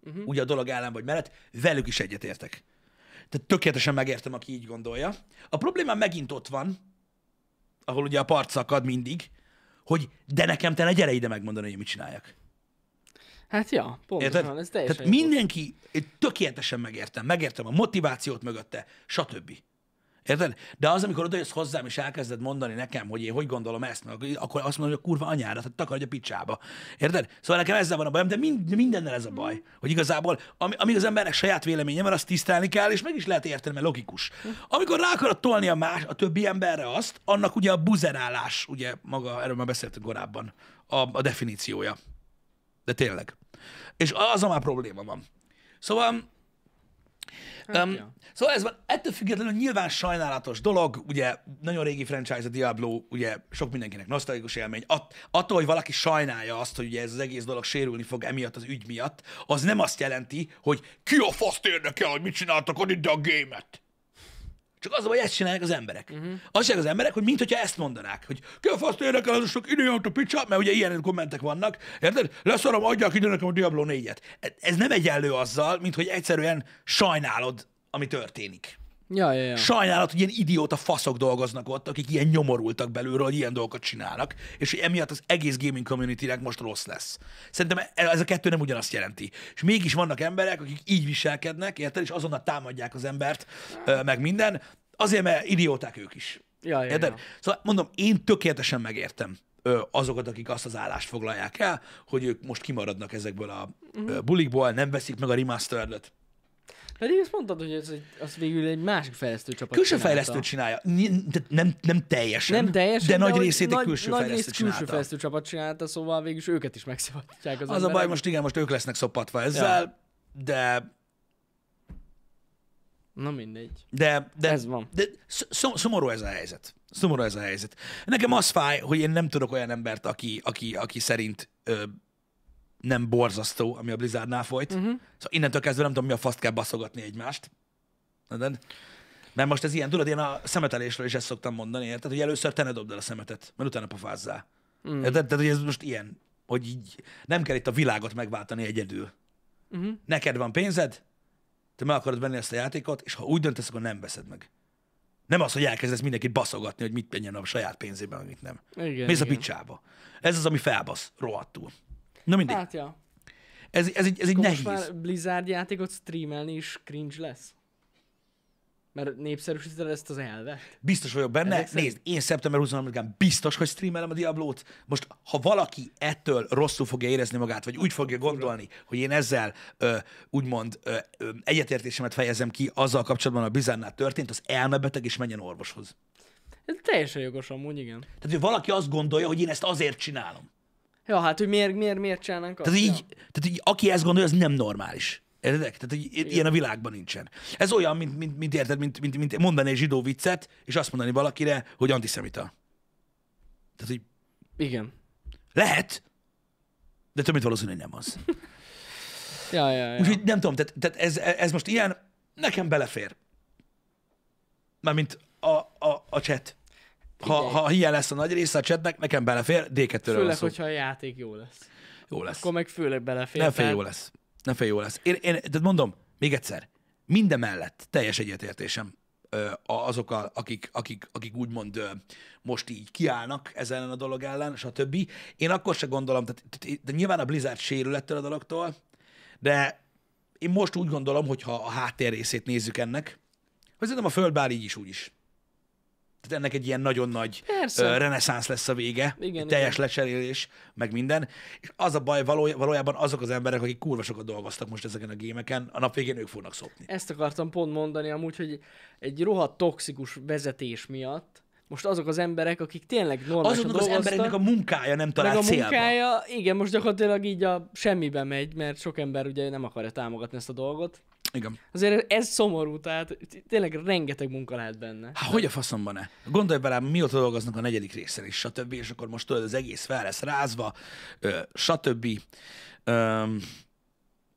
S1: uh-huh. ugye a dolog ellen vagy mellett, velük is egyetértek. Tehát tökéletesen megértem, aki így gondolja. A probléma megint ott van, ahol ugye a part szakad mindig, hogy de nekem te ne gyere ide megmondani, hogy mit csináljak.
S2: Hát ja, pontosan,
S1: Érted?
S2: ez teljesen
S1: Tehát
S2: jó.
S1: mindenki, én tökéletesen megértem, megértem a motivációt mögötte, stb. Érted? De az, amikor odajössz hozzám, és elkezded mondani nekem, hogy én hogy gondolom ezt, meg akkor azt mondom, hogy a kurva anyára, tehát takarodj a picsába. Érted? Szóval nekem ezzel van a bajom, de mind, mindennel ez a
S2: Mhm.
S1: baj. Hogy igazából, ami, amíg az embernek saját véleménye van, azt tisztelni kell, és meg is lehet érteni, mert logikus.
S2: Mhm.
S1: Amikor rá akarod tolni a más, a többi emberre azt, annak ugye a buzerálás, ugye maga, erről már beszéltünk korábban, a, a definíciója. De tényleg. És az a már probléma van. Szóval, um,
S2: ja.
S1: szóval ez van. Ettől függetlenül nyilván sajnálatos dolog, ugye nagyon régi franchise a Diablo, ugye sok mindenkinek nosztalgikus élmény. At, attól, hogy valaki sajnálja azt, hogy ugye ez az egész dolog sérülni fog emiatt az ügy miatt, az nem azt jelenti, hogy ki a faszt érdekel, hogy mit csináltak ott ide a gémet. Csak az, a baj, hogy ezt csinálják az emberek. Uh-huh. Azt csinálják az emberek, hogy mintha ezt mondanák, hogy ki a faszt érdekel az a sok időjött a picsa, mert ugye ilyen kommentek vannak, érted? Leszarom, adják ide nekem a Diablo 4-et. Ez nem egyenlő azzal, mint hogy egyszerűen sajnálod, ami történik.
S2: Ja, ja, ja.
S1: Sajnálat, hogy ilyen idióta faszok dolgoznak ott, akik ilyen nyomorultak belülről, hogy ilyen dolgokat csinálnak, és hogy emiatt az egész gaming communitynek most rossz lesz. Szerintem e- ez a kettő nem ugyanazt jelenti. És mégis vannak emberek, akik így viselkednek, érted, és azonnal támadják az embert, ö, meg minden, azért, mert idióták ők is.
S2: Ja, ja,
S1: Érted?
S2: ja.
S1: Szóval mondom, én tökéletesen megértem ö, azokat, akik azt az állást foglalják el, hogy ők most kimaradnak ezekből a ö,
S2: Mhm.
S1: bulikból, nem veszik meg a remastered
S2: Pedig azt mondtad, hogy ez egy, az végül egy másik fejlesztő csapat
S1: Külső
S2: csinálta.
S1: fejlesztő csinálja. Ni- de Nem, nem teljesen.
S2: Nem teljesen,
S1: De, nagy
S2: hogy
S1: részét egy külső
S2: nagy
S1: fejlesztő
S2: részt külső
S1: csinálta.
S2: fejlesztő csapat csinálta, szóval végül is őket is megszabadítják az
S1: Az a baj, most igen, most ők lesznek szopatva ezzel, de,
S2: Na mindegy.
S1: de, de,
S2: Ez van.
S1: de sz- szom- szomorú ez a helyzet. Szomorú ez a helyzet. Nekem az fáj, hogy én nem tudok olyan embert, aki, aki, aki szerint ö, nem borzasztó, ami a Blizzardnál folyt.
S2: Mhm.
S1: Uh-huh. Szóval innentől kezdve nem tudom, mi a faszt kell baszogatni egymást. Tudod? Mert most ez ilyen, tudod, én a szemetelésről is ezt szoktam mondani, érted? Hogy először te ne dobd el a szemetet, mert utána pofázzál. Mm. Érted? Tehát, hogy ez most ilyen, hogy így nem kell itt a világot megváltani egyedül.
S2: Mhm.
S1: Mm-hmm. Neked van pénzed, te meg akarod venni ezt a játékot, és ha úgy döntesz, akkor nem veszed meg. Nem az, hogy elkezdesz mindenkit baszogatni, hogy mit menjen a saját pénzében, amit nem.
S2: Igen,
S1: Mész a
S2: igen.
S1: picsába. Ez az, ami felbasz, rohadtul. Na mindig.
S2: Hát ja.
S1: Ez, ez, egy, ez egy
S2: Akkor
S1: nehéz.
S2: Most már Blizzard játékot streamelni is cringe lesz. Mert népszerűsíted ezt az elvet.
S1: Biztos vagyok benne.
S2: Ezek szerint-
S1: Nézd, én szeptember 23-án biztos, hogy streamelem a Diablót. Most, ha valaki ettől rosszul fogja érezni magát, vagy úgy fogja gondolni, hogy én ezzel ö, úgymond ö, ö, egyetértésemet fejezem ki azzal kapcsolatban, a bizárnál történt, az elmebeteg és menjen orvoshoz.
S2: Ez teljesen jogos amúgy, igen.
S1: Tehát, hogy valaki azt gondolja, hogy én ezt azért csinálom.
S2: Ja, hát hogy miért, miért, miért csinálnánk azt?
S1: Tehát
S2: ja.
S1: így, tehát így, aki ezt gondolja, az nem normális. Értedek? Tehát így, ilyen a világban nincsen. Ez olyan, mint, mint, mint érted, mint, mint, mint mondani egy zsidó viccet, és azt mondani valakire, hogy antiszemita. Tehát, hogy
S2: Igen.
S1: Lehet, de több mint valószínű, hogy nem
S2: (laughs)
S1: az.
S2: Ja, ja, ja.
S1: Úgyhogy nem tudom, tehát, tehát ez, ez most ilyen, nekem belefér. Mármint a, a, a chat. Ha,
S2: Figyelj.
S1: ha ilyen lesz a nagy része a chatnek, nekem belefér, D2-ről van
S2: Főleg,
S1: szó.
S2: hogyha a játék jó lesz.
S1: Jó lesz.
S2: Akkor meg főleg belefér.
S1: Nem fél
S2: tehát-
S1: jó lesz. Nem fél jó lesz. Én, én tehát mondom, még egyszer, minden mellett teljes egyetértésem ö, a- azokkal, akik, akik, akik úgymond ö, most így kiállnak ez ellen a dolog ellen, stb. Én akkor se gondolom, tehát, tehát- de nyilván a Blizzard sérül ettől a dologtól, de én most úgy gondolom, hogy ha a háttér részét nézzük ennek, hogy szerintem a föld bár így is, úgy is. Tehát ennek egy ilyen nagyon nagy
S2: Persze.
S1: ö, reneszánsz lesz a vége,
S2: Igen,
S1: igen, teljes lecserélés, meg minden. És az a baj, való- valójában azok az emberek, akik kurva sokat dolgoztak most ezeken a gémeken, a nap végén ők fognak szopni.
S2: Ezt akartam pont mondani amúgy, hogy egy rohadt toxikus vezetés miatt most azok az emberek, akik tényleg normálisan
S1: Azoknak az embereknek a munkája nem
S2: meg
S1: talál
S2: a
S1: célba.
S2: munkája, igen, most gyakorlatilag így a semmibe megy, mert sok ember ugye nem akarja támogatni ezt a dolgot.
S1: Igen.
S2: Azért ez szomorú, tehát tényleg rengeteg munka lehet benne.
S1: Hát hogy a faszomban-e? Gondolj bele, mióta dolgoznak a negyedik részen is, stb. És akkor most tudod, az egész fel lesz rázva, ö, stb. Öm,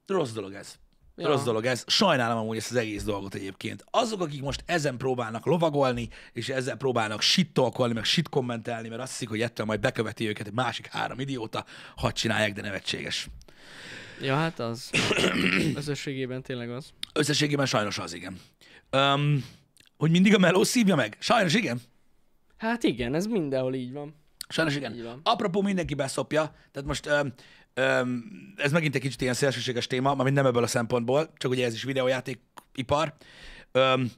S1: rossz dolog ez. Ja.
S2: Ja.
S1: Rossz dolog ez. Sajnálom amúgy ezt az egész dolgot egyébként. Azok, akik most ezen próbálnak lovagolni, és ezzel próbálnak sittolkolni, meg sit kommentelni, mert azt hiszik, hogy ettől majd beköveti őket egy másik három idióta, hadd csinálják, de nevetséges.
S2: Ja, hát az. (coughs) Összességében tényleg az.
S1: Összességében sajnos az, igen. Öm, hogy mindig a meló szívja meg? Sajnos igen.
S2: Hát igen, ez mindenhol így van.
S1: Sajnos
S2: Így
S1: igen.
S2: van.
S1: Apropó, mindenki beszopja, tehát most öm, öm, ez megint egy kicsit ilyen szélsőséges téma, mármint nem ebből a szempontból, csak ugye ez is videójátékipar. Öm,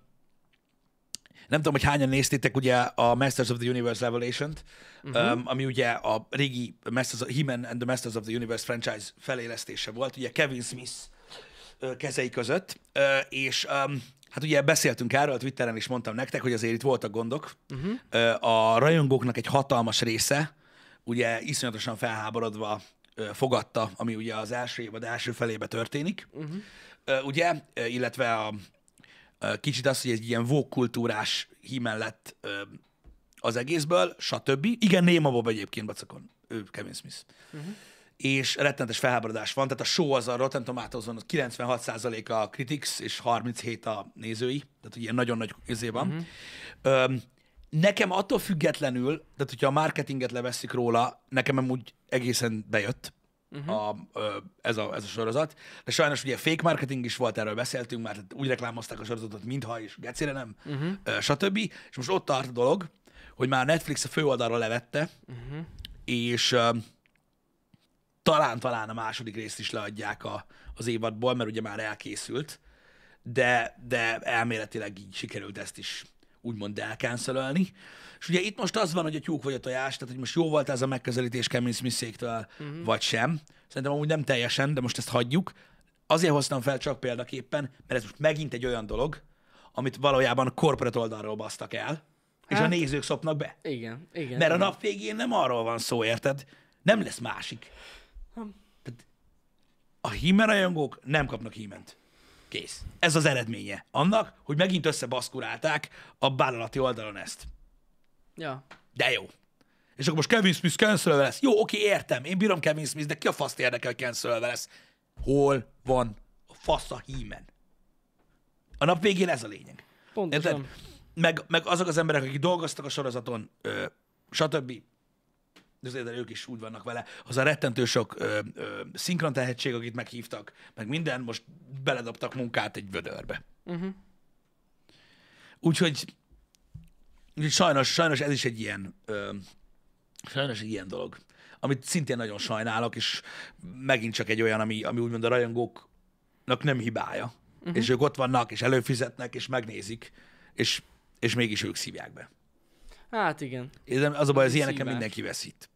S1: nem tudom, hogy hányan néztétek ugye a Masters of the Universe Revelation-t,
S2: Mhm.
S1: uh-huh. um, ami ugye a régi Masters, He-Man and the Masters of the Universe franchise felélesztése volt, ugye Kevin Smith ö, kezei között, Ö, és um, hát ugye beszéltünk erről, Twitteren is mondtam nektek, hogy azért itt voltak gondok. Uh-huh. Ö, a rajongóknak egy hatalmas része, ugye iszonyatosan felháborodva ö, fogadta, ami ugye az első évad első felébe történik, uh-huh. Ö, ugye, Ö, illetve a, ö, kicsit az, hogy egy ilyen vókkultúrás hímen lett ö, az egészből, stb. Igen, néma Bob egyébként, bacakon. Ő Kevin Smith. Uh-huh. És rettenetes felháborodás van, tehát a show az hát a Rotten Tomatoes-on az 96% a critics, és 37 a nézői, tehát ugye nagyon nagy közé van. Uh-huh. Öm, nekem attól függetlenül, tehát hogyha a marketinget levesszük róla, nekem amúgy egészen bejött uh-huh. a, ö, ez, a, ez a sorozat. De sajnos ugye fake marketing is volt, erről beszéltünk már, tehát úgy reklámozták a sorozatot, mintha is, gecére nem, uh-huh. ö, stb. És most ott tart a dolog, hogy már Netflix a főoldalra levette, uh-huh. és ö, talán-talán a második részt is leadják a, az évadból, mert ugye már elkészült, de, de elméletileg így sikerült ezt is úgymond elkánszölölni. És ugye itt most az van, hogy a tyúk vagy a tojás, tehát hogy most jó volt ez a megközelítés Kevin Smith-éktől,
S2: Mhm.
S1: uh-huh. vagy sem. Szerintem amúgy nem teljesen, de most ezt hagyjuk. Azért hoztam fel csak példaképpen, mert ez most megint egy olyan dolog, amit valójában a korporát oldalról basztak el, és a
S2: Hát-
S1: nézők szopnak be.
S2: Igen, igen.
S1: Mert a
S2: igen.
S1: nap végén nem arról van szó, érted? Nem lesz másik. Tehát a hímen rajongók nem kapnak híment. Kész. Ez az eredménye. Annak, hogy megint összebaszkurálták a vállalati oldalon ezt.
S2: Ja.
S1: De jó. És akkor most Kevin Smith cancelve lesz. Jó, oké, értem. Én bírom Kevin Smith, de ki a faszt érdekel, hogy cancelve lesz? Hol van a fasz a hímen? A nap végén ez a lényeg.
S2: Pontosan.
S1: Érted? Meg, meg azok az emberek, akik dolgoztak a sorozaton, ö, stb. De azért ők is úgy vannak vele. Az a rettentő sok ö, ö, szinkron tehetség, akit meghívtak, meg minden, most beledobtak munkát egy vödörbe. Uh-huh. Úgyhogy, úgyhogy sajnos, sajnos ez is egy ilyen, ö, sajnos egy ilyen dolog, amit szintén nagyon sajnálok, és megint csak egy olyan, ami, ami úgymond a rajongóknak nem hibája. Uh-huh. És ők ott vannak, és előfizetnek, és megnézik, és, és mégis ők szívják be.
S2: Hát igen.
S1: Én nem- Az a baj, az ilyeneken
S2: Szívás.
S1: mindenki veszít.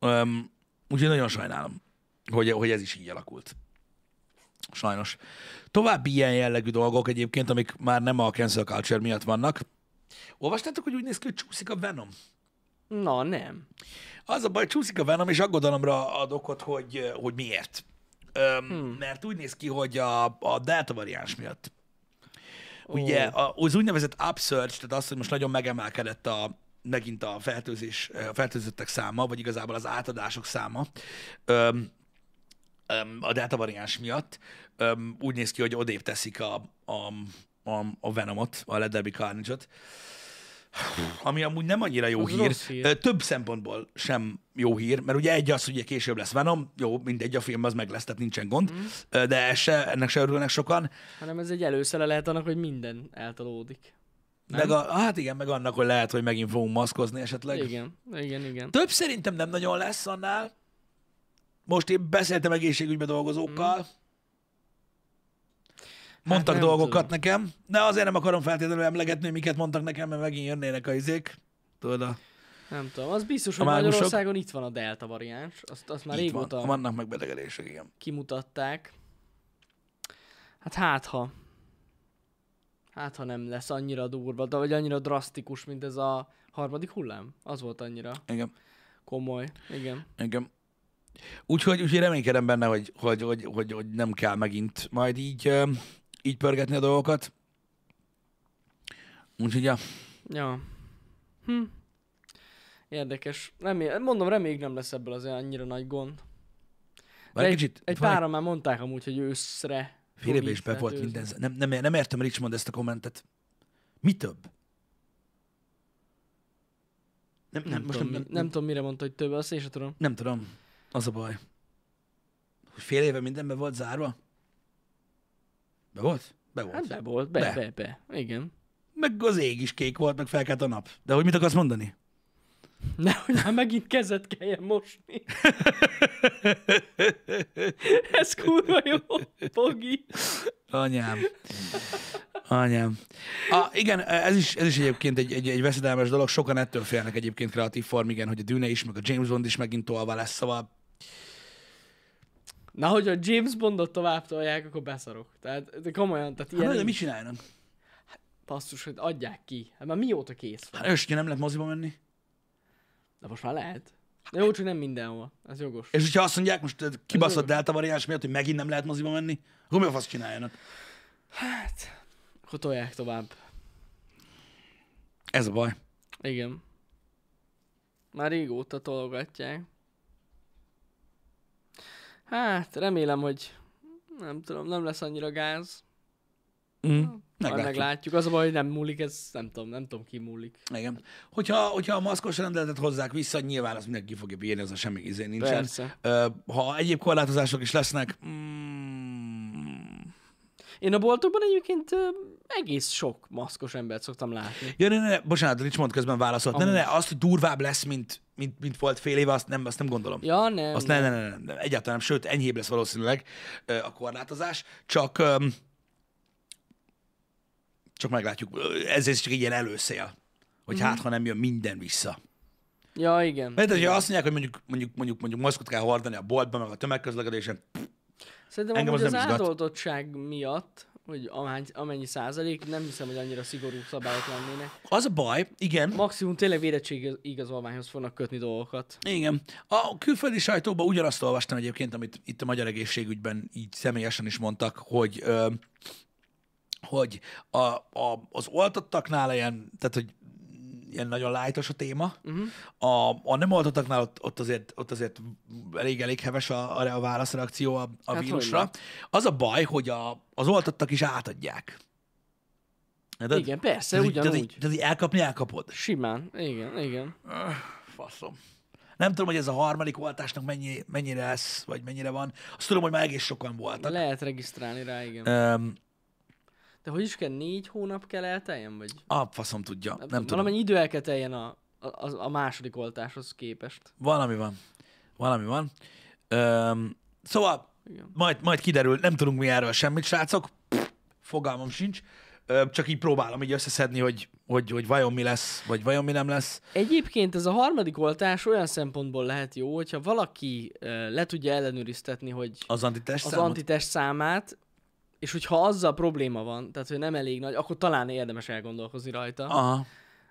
S1: Um, úgyhogy nagyon sajnálom, hogy, hogy ez is így alakult. Sajnos. További ilyen jellegű dolgok egyébként, amik már nem a cancel culture miatt vannak. Olvastátok, hogy úgy néz ki, hogy csúszik a Venom?
S2: Na, nem.
S1: Az a baj, csúszik a Venom, és aggodalomra ad okot, hogy, hogy miért. Öm, hmm. Mert úgy néz ki, hogy a, a Delta variáns miatt. Ugye a, az úgynevezett upsurge, tehát az, hogy most nagyon megemelkedett a, megint a fertőzés, a fertőzöttek száma, vagy igazából az átadások száma öm, öm, a Delta variáns miatt, öm, úgy néz ki, hogy odébb teszik a, a, a, a Venomot, a Let There Be Carnage-ot, ami amúgy nem annyira jó
S2: Az
S1: hír.
S2: rossz hír.
S1: Ö, Több szempontból sem jó hír, mert ugye egy az, hogy ugye később lesz Venom, jó, mindegy, a film az meg lesz, tehát nincsen gond,
S2: Mm.
S1: Ö, de ez se, ennek se örülnek sokan.
S2: Hanem ez egy előszele lehet annak, hogy minden eltolódik.
S1: Meg a, hát igen, meg annak, hogy lehet, hogy megint fogunk maszkozni esetleg. Igen.
S2: Igen, igen, igen.
S1: Több szerintem nem nagyon lesz annál. Most én beszéltem egészségügybe dolgozókkal. Mondtak
S2: Mhm. Hát nem
S1: dolgokat
S2: tudom.
S1: nekem, de azért nem akarom feltétlenül emlegetni, hogy miket mondtak nekem, mert megint jönnének a izék. Tudod, a,
S2: Nem tudom, az biztos, hogy
S1: mágusok?
S2: Magyarországon itt van a delta variáns, azt, azt már
S1: itt van.
S2: régóta
S1: Ha vannak megbetegedések, igen.
S2: kimutatták. Hát hát ha. Hát ha nem lesz annyira durva, de vagy annyira drasztikus, mint ez a harmadik hullám. Az volt annyira
S1: Igen.
S2: komoly. Igen.
S1: Igen. Úgyhogy, úgyhogy reménykedem benne, hogy, hogy, hogy, hogy, hogy nem kell megint majd így, ö, így pörgetni a dolgokat. Úgyhogy, ja.
S2: Ja. Hm. Érdekes. Remé- mondom, reméljük nem lesz ebből az annyira nagy gond. De
S1: Várj
S2: egy,
S1: kicsit,
S2: egy
S1: van
S2: páran már mondták amúgy, hogy őszre. fog
S1: Félrebe
S2: így
S1: is be volt
S2: fertőzni.
S1: minden. Nem, nem, nem értem Richmond ezt a kommentet. Mi több? Nem, nem,
S2: Nem,
S1: most
S2: tudom,
S1: nem,
S2: mi-
S1: nem,
S2: nem, tudom, mire mondta, hogy több, azt én sem tudom.
S1: nem tudom. Az a baj. hogy fél éve mindenbe volt zárva? Be volt? Be volt.
S2: Hát be volt, be,
S1: Be.
S2: be, be. Igen. (laughs)
S1: Meg az ég is kék volt, meg felkelt a nap. De hogy mit akarsz
S2: (laughs)
S1: mondani?
S2: Nehogy már megint kezet kelljen mosni. (laughs) Ez kurva jó, Pogi.
S1: Anyám. Anyám. A, igen, ez is, ez is egyébként egy, egy, egy veszedelmes dolog. Sokan ettől félnek egyébként kreatív form, igen, hogy a Dűne is, meg a James Bond is megint tolva lesz, szóval
S2: Na, hogy a James Bondot tovább tolják, akkor beszarok. Tehát, de komolyan, tehát
S1: Hát,
S2: ilyen
S1: de
S2: hát,
S1: mit
S2: mi...
S1: csinálnak?
S2: passzus, hogy adják ki. Hát már mióta kész van?
S1: Hát ős, nem lehet moziba menni.
S2: De most már lehet. De jó, csak nem mindenhol. Ez jogos.
S1: És hogyha azt mondják, most ez kibaszott delta variáns miatt, hogy megint nem lehet moziba menni, akkor mi a fasz csináljanak?
S2: Hát, akkor tolják tovább.
S1: Ez a baj.
S2: Igen. Már régóta tologatják. Hát, remélem, hogy nem tudom, nem lesz annyira gáz.
S1: Mm.
S2: Meglátjuk. Majd
S1: Meglátjuk.
S2: meglátjuk. Az a baj, hogy nem múlik, ez nem tudom, nem tudom, ki múlik.
S1: Igen. Hogyha, hogyha a maszkos rendeletet hozzák vissza, nyilván azt mindenki fogja bírni, az a semmi izé nincsen.
S2: Persze.
S1: Ö, ha egyéb korlátozások is lesznek, mm,
S2: Én a boltokban egyébként ö, egész sok maszkos embert szoktam látni.
S1: Ja, ne, ne, ne, bocsánat, Rich mond közben válaszolt. Ne, ne, ne, azt, hogy durvább lesz, mint, mint, mint volt fél éve, azt nem, azt nem gondolom.
S2: Ja, nem.
S1: Azt ne, ne, ne, ne, ne, egyáltalán nem, sőt, enyhébb lesz valószínűleg ö, a korlátozás, csak öm, csak meglátjuk, Ö, ez, ez csak egy ilyen előszél, hogy
S2: Mhm.
S1: hát, ha nem jön minden vissza.
S2: Ja, igen.
S1: Mert hogyha azt mondják, hogy mondjuk, mondjuk, mondjuk, mondjuk maszkot kell hordani a boltban, meg a tömegközlekedésen,
S2: Szerintem
S1: engem
S2: Engem az,
S1: az
S2: az
S1: nem izgat.
S2: átoltottság miatt, hogy ahány, amennyi százalék, nem hiszem, hogy annyira szigorú szabályok lennének.
S1: az a baj, igen,
S2: Maximum tényleg védettségi igazolványhoz fognak kötni dolgokat.
S1: Igen. A külföldi sajtóban ugyanazt olvastam egyébként, amit itt a magyar egészségügyben így személyesen is mondtak, hogy ö, hogy a, a, az oltottaknál ilyen, tehát hogy ilyen nagyon lájtos a téma,
S2: Mhm.
S1: uh-huh. a, a nem oltottaknál ott, ott, azért, ott azért elég-elég heves a, a, a válaszreakció a, a
S2: Hát
S1: hát vírusra.
S2: hogyne.
S1: Az a baj, hogy a, az oltottak is átadják. Érted?
S2: Igen, persze,
S1: Tehát így- tehát
S2: ugyanúgy.
S1: így- Tehát így elkapni, elkapod.
S2: Simán, igen, igen.
S1: Faszom. Nem tudom, hogy ez a harmadik oltásnak mennyi, mennyire lesz, vagy mennyire van. Azt tudom, hogy már egész sokan voltak.
S2: Lehet regisztrálni rá,
S1: E-
S2: igen.
S1: Öm,
S2: De hogy is kell, négy hónap kell elteljen, vagy?
S1: a faszom tudja, nem tudom.
S2: Valamennyi idő el kell teljen a, a, az- a második oltáshoz képest.
S1: Valami van. Valami van. Öm, szóval
S2: Igen.
S1: majd, majd kiderül, nem tudunk mi erről semmit, srácok. Pff, Fogalmam sincs. Öm, csak így próbálom így összeszedni, hogy, hogy, hogy vajon mi lesz, vagy vajon mi nem lesz.
S2: Egyébként ez a harmadik oltás olyan szempontból lehet jó, hogyha valaki ö, le tudja ellenőriztetni, hogy
S1: Az antitest
S2: az
S1: számot.
S2: antitest számát, és hogyha azzal probléma van, tehát hogy nem elég nagy, akkor talán érdemes elgondolkozni rajta.
S1: Aha.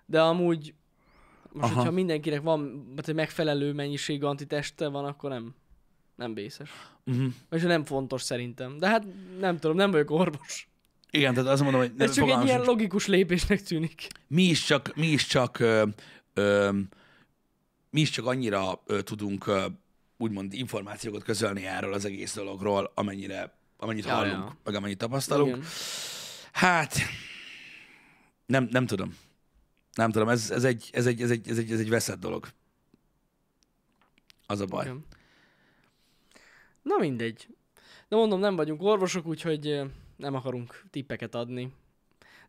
S2: De amúgy, most
S1: Aha.
S2: Aha. hogyha mindenkinek van hát egy megfelelő mennyiségű antiteste van, akkor nem, nem vészes.
S1: Uh-huh.
S2: Vagyis nem fontos szerintem. De hát nem tudom, nem vagyok orvos.
S1: Igen, tehát azt mondom, hogy
S2: Ez csak egy
S1: fogalmam
S2: ilyen
S1: sincs.
S2: logikus lépésnek tűnik.
S1: mi is csak, mi is csak, ö, ö, mi is csak annyira ö, tudunk ö, úgymond információkat közölni erről az egész dologról, amennyire, amennyit
S2: Ja,
S1: hallunk,
S2: ja.
S1: meg amennyit tapasztalunk.
S2: Igen.
S1: Hát, nem, nem tudom. Nem tudom, ez, ez, egy, ez, egy, ez, egy, ez, egy, ez egy veszett dolog. Az a baj.
S2: Igen. Na mindegy. De mondom, nem vagyunk orvosok, úgyhogy ö, nem akarunk tippeket adni.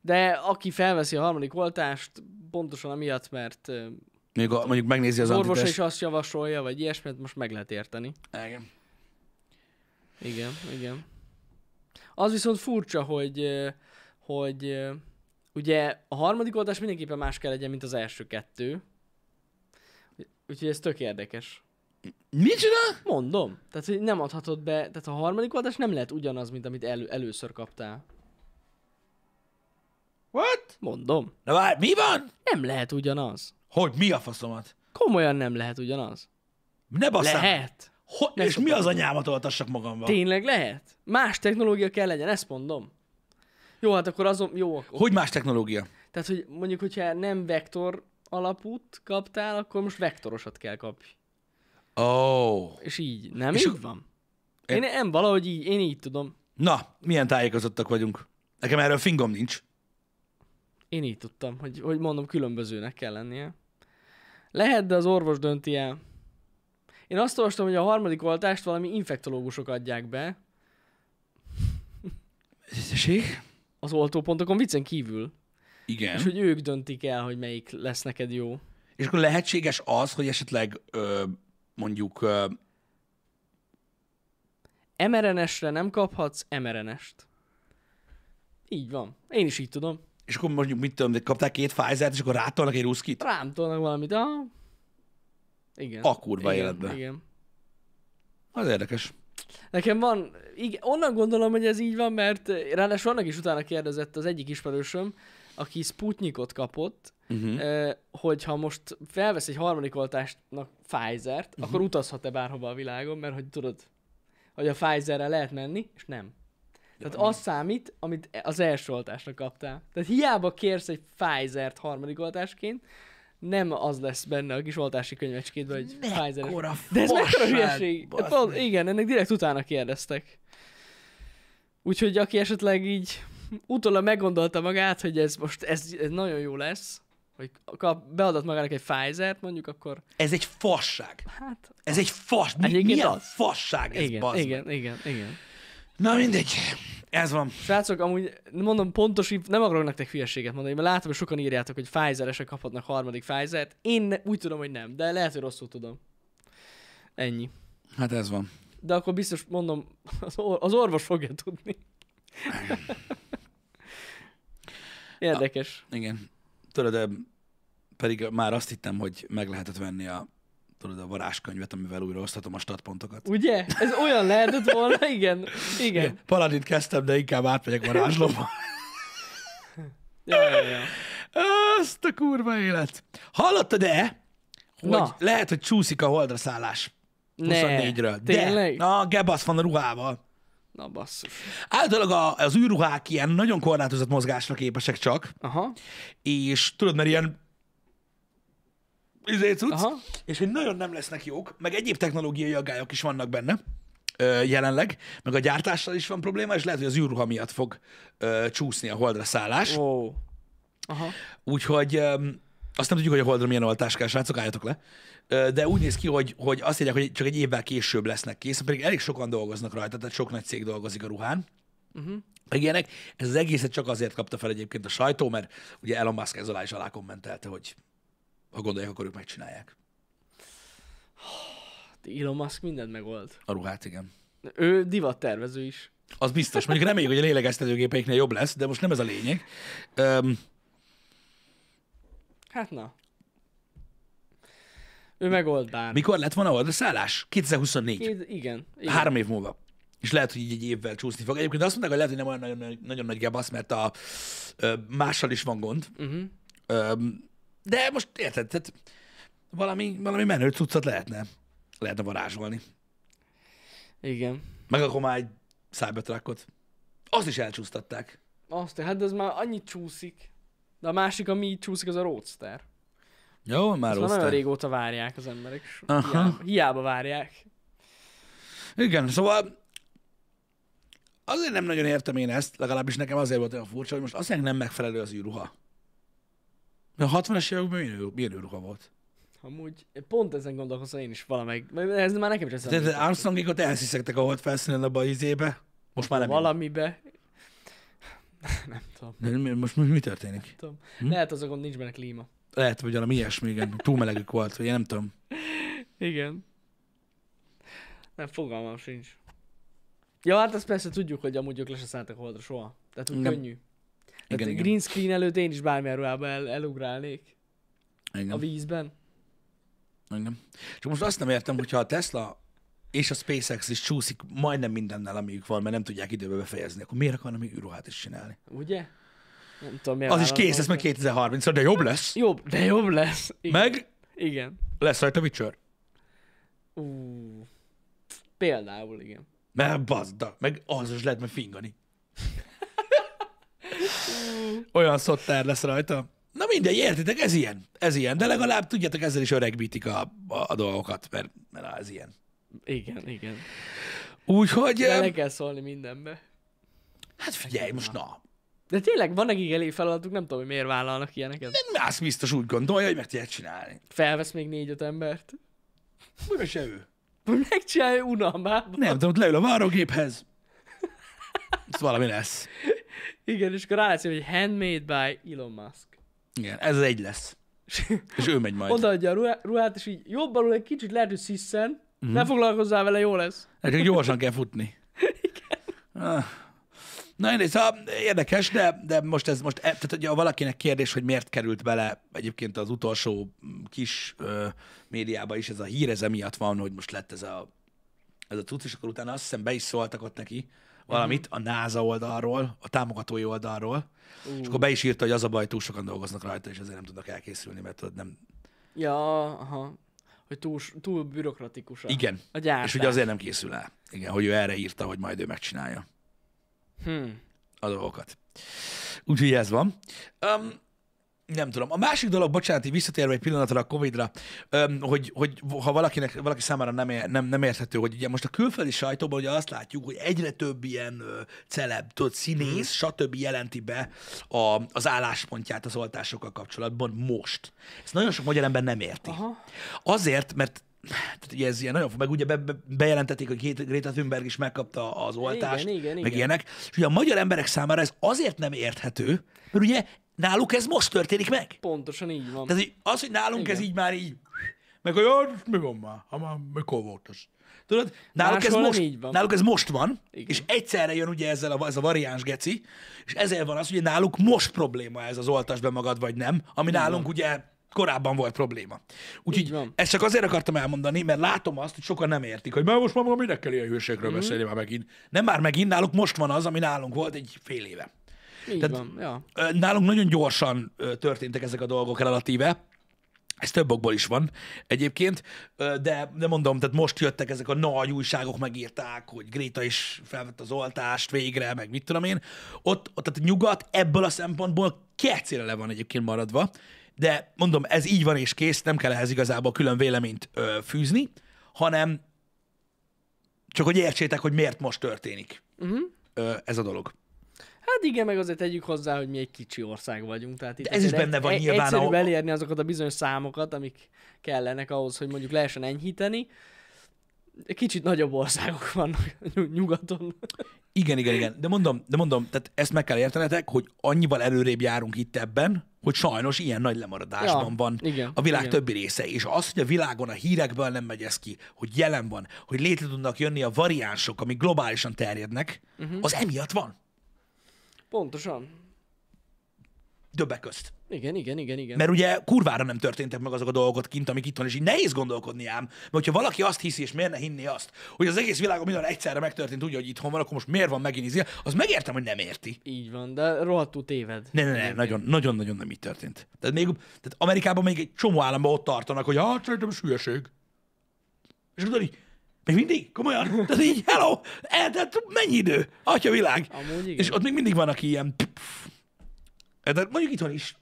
S2: De aki felveszi a harmadik oltást, pontosan amiatt, mert ö,
S1: Még a, mondjuk megnézi az
S2: az orvosa
S1: antitest.
S2: is azt javasolja, vagy ilyesmit, most meg lehet érteni.
S1: Igen.
S2: Igen, igen. Az viszont furcsa, hogy, ö, hogy ö, ugye a harmadik oldás mindenképpen más kell legyen, mint az első kettő. Úgyhogy ez tök érdekes.
S1: Mit csinál?
S2: Mondom. Tehát, hogy nem adhatod be, tehát a harmadik oldás nem lehet ugyanaz, mint amit elő, először kaptál.
S1: What?
S2: Mondom.
S1: Na várj, mi van?
S2: Nem lehet ugyanaz.
S1: Hogy mi a faszomat?
S2: Komolyan nem lehet ugyanaz.
S1: Ne basszám.
S2: Lehet.
S1: Hogy,
S2: Ne
S1: és mi az anyámat oltassak magamba?
S2: Tényleg lehet. Más technológia kell legyen, ezt mondom. Jó, hát akkor azon, jó, akkor
S1: Hogy más technológia?
S2: Tehát, hogy mondjuk, hogyha nem vektor alapút kaptál, akkor most vektorosat kell kapj.
S1: Ó. Oh.
S2: És így, nem?
S1: És
S2: És
S1: ak-
S2: így van. Én, nem, valahogy így, én így tudom.
S1: Na, milyen tájékozottak vagyunk. Nekem erről fingom nincs.
S2: Én így tudtam, hogy, hogy mondom, különbözőnek kell lennie. Lehet, de az orvos dönti el. Én azt olvastam, hogy a harmadik oltást valami infektológusok adják be
S1: Tisztesség?
S2: az oltópontokon viccen kívül,
S1: Igen.
S2: és hogy ők döntik el, hogy melyik lesz neked jó.
S1: És akkor lehetséges az, hogy esetleg ö, mondjuk ö,
S2: mRNS-re nem kaphatsz mRNS-t. Így van. Én is így tudom.
S1: És akkor mondjuk, mit tudom, kapták két Pfizer-t, és akkor rátolnak egy ruszkit?
S2: Rám tolnak valamit. Aha. Igen.
S1: A kurva
S2: igen,
S1: életbe.
S2: Igen.
S1: Az érdekes.
S2: Nekem van, igen, onnan gondolom, hogy ez így van, mert eh, ráadásul annak is utána kérdezett az egyik ismerősöm, aki Sputnikot kapott,
S1: Uh-huh.
S2: eh, hogyha most felvesz egy harmadik oltásnak Pfizer-t, akkor utazhat-e bárhova a világon, mert hogy tudod, hogy a Pfizerrel lehet menni, és nem. Tehát az számít, amit e- az első oltásra kaptál. Tehát hiába kérsz egy Pfizer-t harmadik oltásként, nem az lesz benne a kis oltási könyvecskédben, hogy Pfizer.
S1: Mekkora
S2: De ez mekkora
S1: fasság,
S2: hülyeség?
S1: bassz
S2: Pont,
S1: meg.
S2: igen, ennek direkt utána kérdeztek. Úgyhogy aki esetleg így utólag meggondolta magát, hogy ez most ez, ez nagyon jó lesz, hogy kap, beadott magának egy Pfizer-t mondjuk, akkor
S1: Ez egy fasság.
S2: hát...
S1: Ez egy fas. Mi,
S2: Egyébként
S1: milyen
S2: az.
S1: fasság ez,
S2: Igen,
S1: bazd meg.
S2: igen, igen, igen.
S1: Na mindegy. Ez van.
S2: Srácok, amúgy mondom pontos, inf- nem akarok nektek hülyeséget mondani, mert látom, hogy sokan írjátok, hogy Pfizer-esek kaphatnak harmadik Pfizer-t. Én ne- úgy tudom, hogy nem, de lehet, hogy rosszul tudom. Ennyi.
S1: Hát ez van.
S2: De akkor biztos mondom, (laughs) az, or- az orvos fogja (laughs) tudni. Érdekes.
S1: Igen. Tudod, ö, pedig már azt hittem, hogy meg lehetett venni a tudod, a varázskönyvet, amivel újra osztatom a statpontokat.
S2: Ugye? Ez olyan lehetett volna, igen. Igen.
S1: Paladin kezdtem, de inkább átmegyek varázslóba.
S2: Ja, ja, ja.
S1: Azt a kurva élet. Hallottad-e, hogy
S2: Na.
S1: Na. lehet, hogy csúszik a holdra szállás
S2: Ne,
S1: 24-ről?
S2: tényleg?
S1: De, a gebasz van a ruhával.
S2: Na basszus.
S1: Általában a- az űrruhák ilyen nagyon korlátozott mozgásra képesek csak,
S2: Aha.
S1: és tudod, mert ilyen izé cucc,
S2: Aha.
S1: és hogy nagyon nem lesznek jók, meg egyéb technológiai aggályok is vannak benne ö, jelenleg, meg a gyártással is van probléma, és lehet, hogy az űrruha miatt fog ö, csúszni a holdra szállás.
S2: Ó. Aha.
S1: Úgyhogy öm, azt nem tudjuk, hogy a Holdra milyen oltás kell, srácok, álljatok le. Ö, De úgy néz ki, hogy, hogy azt írják, hogy csak egy évvel később lesznek kész, pedig elég sokan dolgoznak rajta, tehát sok nagy cég dolgozik a ruhán. Uh-huh. Meg ilyenek. Ez az egészet csak azért kapta fel egyébként a sajtó, mert ugye Elon Musk ez alá is alá kommentelte, hogy ha gondolják, akkor ők megcsinálják
S2: Hát Elon Musk mindent megold.
S1: a ruhát, igen.
S2: Ő divattervező is.
S1: Az biztos. Mondjuk reméljük, hogy a lélegeztetőgépeiknél jobb lesz, de most nem ez a lényeg. Öm,
S2: Hát na. Ő megold bármi.
S1: mikor lett volna a holdra szállás? 2024.
S2: Két, igen. igen.
S1: Igen. Három év múlva. És lehet, hogy így egy évvel csúszni fog. Egyébként azt mondták, hogy lehet, hogy nem olyan nagyon, nagyon, nagyon nagy gebasz, mert a ö, mással is van gond.
S2: Uh-huh.
S1: Ö, de most érted, tehát valami, valami menő cuccot lehetne, lehetne varázsolni.
S2: Igen.
S1: Meg akkor már egy Cybertruckot. Azt is elcsúsztatták.
S2: Azt, hát ez már annyit csúszik. De a másik, ami így csúszik, az a Roadster.
S1: Jó, már
S2: Azt már Szóval nagyon régóta várják az emberek. és
S1: Aha.
S2: Hiába, hiába várják.
S1: Igen, szóval azért nem nagyon értem én ezt, legalábbis nekem azért volt olyan furcsa, hogy most azt mondják, nem megfelelő az űrruha. Mert A 60-as években milyen, űr- milyen űrruha volt?
S2: Amúgy pont ezen gondolkozom én is valamelyik. mert Ez már nekem is
S1: De,
S2: eszembe.
S1: de Armstrongékot elsziszegtek a hold felszínen abba az izébe. Most már nem.
S2: Valamibe. (laughs) Nem tudom.
S1: jó. Mi- Most mi, mi történik?
S2: tudom. Hm? Lehet az a gond, nincs benne klíma.
S1: Lehet, hogy valami ilyesmi, igen. Túl melegük volt, vagy én nem tudom.
S2: Igen. Nem, fogalmam sincs. Ja, hát azt persze tudjuk, hogy amúgy ők le se szálltak holdra soha. Tehát úgy
S1: Nem.
S2: könnyű. Tehát
S1: Igen,
S2: igen,
S1: igen.
S2: green screen előtt én is bármilyen ruhába el, elugrálnék. A
S1: Igen,
S2: vízben.
S1: igen. Csak most azt nem értem, hogyha a Tesla és a SpaceX is csúszik majdnem mindennel, amiük van, mert nem tudják időbe befejezni, akkor miért akarnak még űrruhát is csinálni?
S2: Ugye? Nem tudom, miért
S1: Az is kész, ez meg
S2: vállalkoznak.
S1: 2030-ra, de jobb lesz.
S2: Jobb, de jobb lesz. Igen.
S1: Meg
S2: Igen.
S1: lesz rajta Witcher.
S2: Ú. Például, igen.
S1: Mert bazda, meg az is lehet meg fingani. Olyan szottár lesz rajta. Na mindegy, értitek, ez ilyen. Ez ilyen, de legalább tudjátok, ezzel is öregbítik a, a, a dolgokat, mert, mert á, ez ilyen.
S2: Igen, igen.
S1: Úgyhogy,
S2: Bele
S1: em,
S2: kell szólni mindenbe.
S1: hát figyelj, most na.
S2: De tényleg van nekik elég feladatuk, nem tudom, hogy miért vállalnak ilyeneket.
S1: Más biztos úgy gondolja, hogy meg tudják csinálni.
S2: Felvesz még négy-öt embert.
S1: Vagy se ő.
S2: Vagy megcsinálja unalmába.
S1: Nem tudom, ott leül a várógéphez. Ez valami lesz.
S2: Igen, és akkor rálátszik, hogy handmade by Elon Musk.
S1: Igen, ez az egy lesz.
S2: És
S1: És ő megy majd. Oda.
S2: odaadja a ruhá- ruhát, és így jobb alul egy kicsit lehet, hogy sziszen,
S1: Mhm.
S2: mm-hmm. ne foglalkozzál vele, jó lesz.
S1: Nekünk gyorsan kell futni. Igen. Na, én szóval érdekes, de, de most ez most, e- tehát ugye ha valakinek kérdés, hogy miért került bele egyébként az utolsó mm, kis ö, médiába is ez a hír, ez emiatt van, hogy most lett ez a, ez a cucc, és akkor utána azt hiszem be is szóltak ott neki valamit a NASA oldalról, a támogatói oldalról, uh. és akkor be is írta, hogy az a baj, túl sokan dolgoznak rajta, és ezért nem tudnak elkészülni, mert tudod, nem...
S2: Ja, aha. Hogy túl, túl bürokratikus a,
S1: Igen.
S2: a gyártás.
S1: És ugye azért nem készül el. Igen, hogy ő erre írta, hogy majd ő megcsinálja
S2: Hm.
S1: a dolgokat. Úgyhogy ez van. Um, nem tudom. A másik dolog, bocsánat, így visszatérve egy pillanatra a Covid-ra, öm, hogy, hogy ha valakinek, valaki számára nem, ér, nem, nem érthető, hogy ugye most a külföldi sajtóban ugye azt látjuk, hogy egyre több ilyen ö, celeb, tudod, színész,
S2: Mhm.
S1: stb. jelenti be a, az álláspontját az oltásokkal kapcsolatban most. Ezt nagyon sok magyar ember nem érti.
S2: Aha.
S1: Azért, mert tehát ugye ez ilyen nagyon, meg ugye be, be, bejelentették, hogy Greta- Greta Thunberg is megkapta az oltást,
S2: Igen, igen,
S1: meg
S2: igen.
S1: ilyenek. És ugye a magyar emberek számára ez azért nem érthető, mert ugye náluk ez most történik meg.
S2: Pontosan így van.
S1: Tehát hogy az, hogy nálunk igen. ez így már így, meg hogy "Ja, mi van már, ha már mikor volt az. Tudod, náluk ez,
S2: Máshol nem
S1: most,
S2: így van.
S1: náluk ez most van, igen.
S2: Igen.
S1: és egyszerre jön ugye ezzel a, ez a variáns geci, és ezért van az, hogy náluk most probléma ez az oltasd be magad, vagy nem, ami nálunk ugye korábban volt probléma.
S2: Így
S1: Úgyhogy
S2: van.
S1: ezt csak azért akartam elmondani, mert látom azt, hogy sokan nem értik, hogy már most már maga minek kell ilyen hőségről
S2: Mhm.
S1: mm. beszélni már megint. Nem már megint, náluk most van az, ami nálunk volt egy fél éve.
S2: így
S1: tehát-
S2: van, ja.
S1: Ö, Nálunk nagyon gyorsan ö, történtek ezek a dolgok relatíve. Ez több okból is van egyébként, Ö, de, de mondom, tehát most jöttek ezek a nagy újságok, megírták, hogy Gréta is felvett az oltást végre, meg mit tudom én. Ott, ott tehát a nyugat ebből a szempontból kecére le van egyébként maradva, de mondom, ez így van és kész, nem kell ehhez igazából külön véleményt ö, fűzni, hanem csak hogy értsétek, hogy miért most történik
S2: Uh-huh.
S1: ö, ez a dolog.
S2: Hát igen, meg azért tegyük hozzá, hogy mi egy kicsi ország vagyunk. Tehát itt
S1: ez is
S2: azért
S1: benne van
S2: egy-
S1: nyilván,
S2: Egyszerűbb
S1: ahol-
S2: elérni azokat a bizonyos számokat, amik kellenek ahhoz, hogy mondjuk lehessen enyhíteni. Kicsit nagyobb országok (laughs) vannak nyug- nyugaton.
S1: Igen, igen, igen. De mondom, de mondom, tehát ezt meg kell értenetek, hogy annyival előrébb járunk itt ebben, hogy sajnos ilyen nagy lemaradásban
S2: Ja,
S1: van
S2: igen,
S1: a világ
S2: igen.
S1: többi része. És az, hogy a világon a hírekből nem megy ez ki, hogy jelen van, hogy létre tudnak jönni a variánsok, amik globálisan terjednek,
S2: Mhm.
S1: uh-huh. az emiatt van.
S2: Pontosan.
S1: Többek közt.
S2: Igen, igen, igen, igen.
S1: Mert ugye kurvára nem történtek meg azok a dolgok kint, amik itthon, és így nehéz gondolkodni ám. Mert hogyha valaki azt hiszi, és miért ne hinni azt, hogy az egész világon minden egyszerre megtörtént úgy, hogy itthon van, akkor most miért van megint izé, az megértem, hogy nem érti.
S2: Így van, de rohadtul téved.
S1: Ne, ne, ne, nagyon, nagyon, nagyon nem így történt. Tehát, még, tehát Amerikában még egy csomó államban ott tartanak, hogy hát szerintem ez hülyeség. És tudod így, még mindig? Komolyan? Tehát így, hello, eltelt mennyi idő? Atya világ.
S2: Amúgy igen.
S1: És ott még mindig van, aki ilyen... Tehát mondjuk itthon is.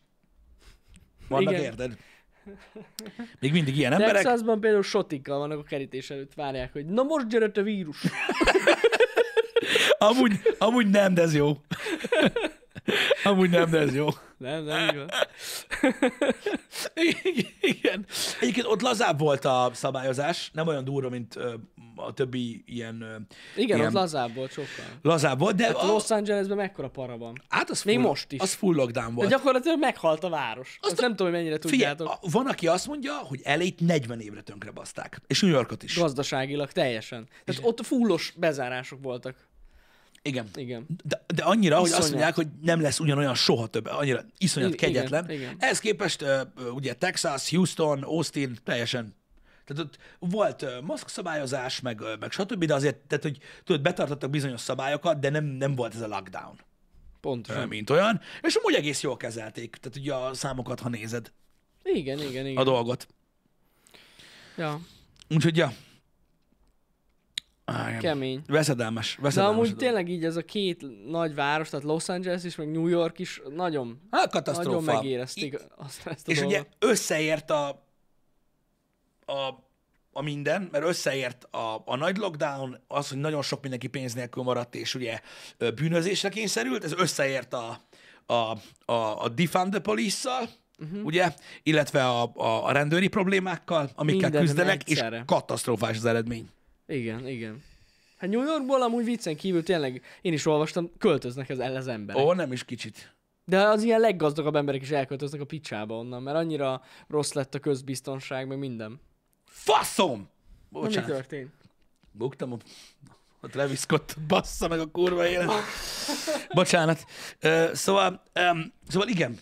S1: Vannak,
S2: Igen.
S1: érted? Még mindig ilyen emberek.
S2: Texasban például sotikkal vannak a kerítés előtt, várják, hogy na most gyerett a
S1: (laughs)
S2: vírus.
S1: Amúgy, amúgy nem, de ez jó. Amúgy nem, de ez jó.
S2: nem, nem, így van.
S1: Igen. Egyébként ott lazább volt a szabályozás, nem olyan durva, mint ö, a többi ilyen... ö,
S2: Igen,
S1: ilyen
S2: az lazább volt sokkal.
S1: lazább volt, de
S2: A
S1: Hát a,
S2: Los Angelesben mekkora para van.
S1: hát az
S2: Hát még
S1: full,
S2: most is.
S1: Az full lockdown
S2: De
S1: volt.
S2: gyakorlatilag meghalt a város. Azt,
S1: Azt
S2: Azt nem tudom, hogy mennyire
S1: Figyelj,
S2: tudjátok.
S1: a- van, aki azt mondja, hogy elét 40 évre tönkre baszták. És New Yorkot is.
S2: Gazdaságilag teljesen. Tehát ott fullos bezárások voltak.
S1: Igen.
S2: Igen.
S1: De, de annyira, hogy azt
S2: Iszonyat.
S1: mondják, hogy nem lesz ugyanolyan soha több, annyira iszonyat
S2: I-
S1: kegyetlen.
S2: igen, igen.
S1: Ehhez képest ö, ö, ugye Texas, Houston, Austin, teljesen tehát ott volt ö, maszkszabályozás, meg, ö, meg stb., de azért, tehát, hogy tudod, betartottak bizonyos szabályokat, de nem, nem volt ez a lockdown, ö,
S2: Pontosan.
S1: mint olyan, és amúgy egész jól kezelték, tehát ugye a számokat, ha nézed,
S2: Igen, igen,
S1: a
S2: igen.
S1: dolgot.
S2: Ja,
S1: Úgyhogy, ja. Á, igen.
S2: kemény.
S1: Veszedelmes,
S2: De
S1: veszedelmes. a
S2: amúgy
S1: dolog.
S2: tényleg így ez a két nagy város, tehát Los Angeles is, meg New York is nagyon,
S1: Hát
S2: nagyon
S1: katasztrófa.
S2: megérezték azt, ezt a
S1: És
S2: dolgot.
S1: ugye összeért a, a, a minden, mert összeért a, a nagy lockdown, az, hogy nagyon sok mindenki pénz nélkül maradt, és ugye ö, bűnözésre kényszerült, ez összeért a, a, a, a Defund the police Uh-huh. Ugye? Illetve a, a, a rendőri problémákkal, amikkel
S2: Mindenen
S1: küzdenek,
S2: egyszerre.
S1: és katasztrofás az eredmény.
S2: Igen, igen. Hát New Yorkból amúgy viccen kívül tényleg, én is olvastam, költöznek az, el az emberek.
S1: Ó, nem is kicsit.
S2: De az ilyen leggazdagabb emberek is elköltöznek a picsába onnan, mert annyira rossz lett a közbiztonság, meg minden.
S1: Faszom!
S2: Na, mi
S1: Bocsánat,
S2: történt?
S1: buktam a, a Travis Scott bassza meg a kurva élet.
S2: (laughs)
S1: Bocsánat. Ö, szóval, um, szóval igen.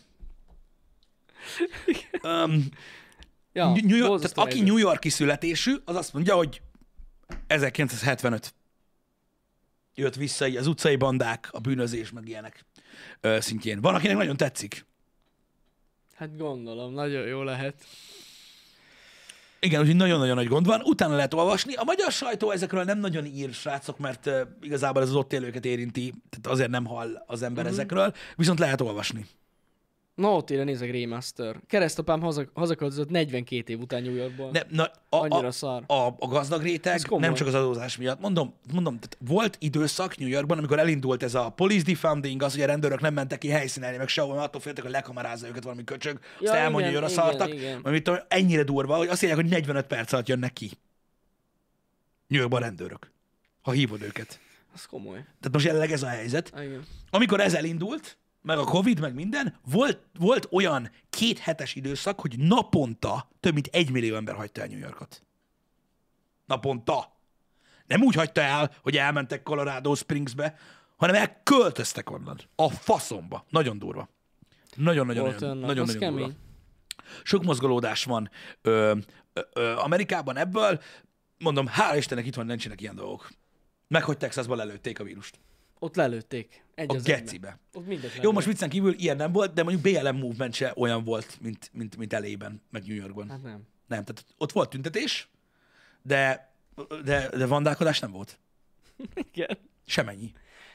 S1: Um,
S2: Ja,
S1: New York,
S2: borzasztó
S1: tehát aki
S2: helyzet.
S1: New Yorki születésű, az azt mondja, hogy 1975 jött vissza így az utcai bandák, a bűnözés, meg ilyenek ö, szintjén. Van, akinek nagyon tetszik.
S2: Hát gondolom, nagyon jó lehet.
S1: Igen, úgyhogy nagyon-nagyon nagy gond van. Utána lehet olvasni. A magyar sajtó ezekről nem nagyon ír, srácok, mert ö, igazából ez az ott élőket érinti, tehát azért nem hall az ember
S2: Mhm.
S1: ezekről, viszont lehet olvasni.
S2: Na ott ére nézek Remaster. Keresztapám haza, hazaköltözött 42 után New Yorkból.
S1: De, na, a,
S2: Annyira
S1: a,
S2: szar.
S1: a, a gazdag réteg
S2: komoly.
S1: nem csak az adózás miatt. Mondom, mondom tehát volt időszak New Yorkban, amikor elindult ez a police defunding, az, hogy a rendőrök nem mentek ki helyszínelni, meg sehol, mert attól féltek, hogy lekamerázza őket valami köcsög, azt
S2: Ja,
S1: elmondja,
S2: igen,
S1: hogy jön a
S2: igen,
S1: szartak.
S2: igen.
S1: Mert mit tudom, ennyire durva, hogy azt mondják, hogy 45 perc alatt jönnek ki. New Yorkban a rendőrök, ha hívod őket.
S2: Az komoly.
S1: Tehát most jelenleg ez a helyzet.
S2: Ah, Igen.
S1: Amikor ez elindult, meg a Covid, meg minden, volt, volt olyan két hetes időszak, hogy naponta több mint egy millió ember hagyta el New Yorkot. Naponta. Nem úgy hagyta el, hogy elmentek Colorado Springsbe, hanem elköltöztek onnan. A faszomba. Nagyon durva. Nagyon-nagyon
S2: Volt
S1: nagyon,
S2: olyan nap.
S1: nagyon,
S2: Az
S1: nagyon durva.
S2: kemény.
S1: Sok mozgolódás van ö, ö, ö, Amerikában ebből. Mondom, hála Istennek itt van, nincsenek ilyen dolgok. Meg hogy Texasban lelőtték a vírust.
S2: Ott lelőtték. Egy
S1: A
S2: az egyben.
S1: gecibe.
S2: Ott mindent
S1: Jó, most viccen kívül ilyen nem volt, de mondjuk BLM movement se olyan volt, mint, mint, mint elében, meg New Yorkban.
S2: Hát nem.
S1: Nem, tehát ott volt tüntetés, de, de, de vandálkodás nem volt.
S2: Igen.
S1: Semennyi.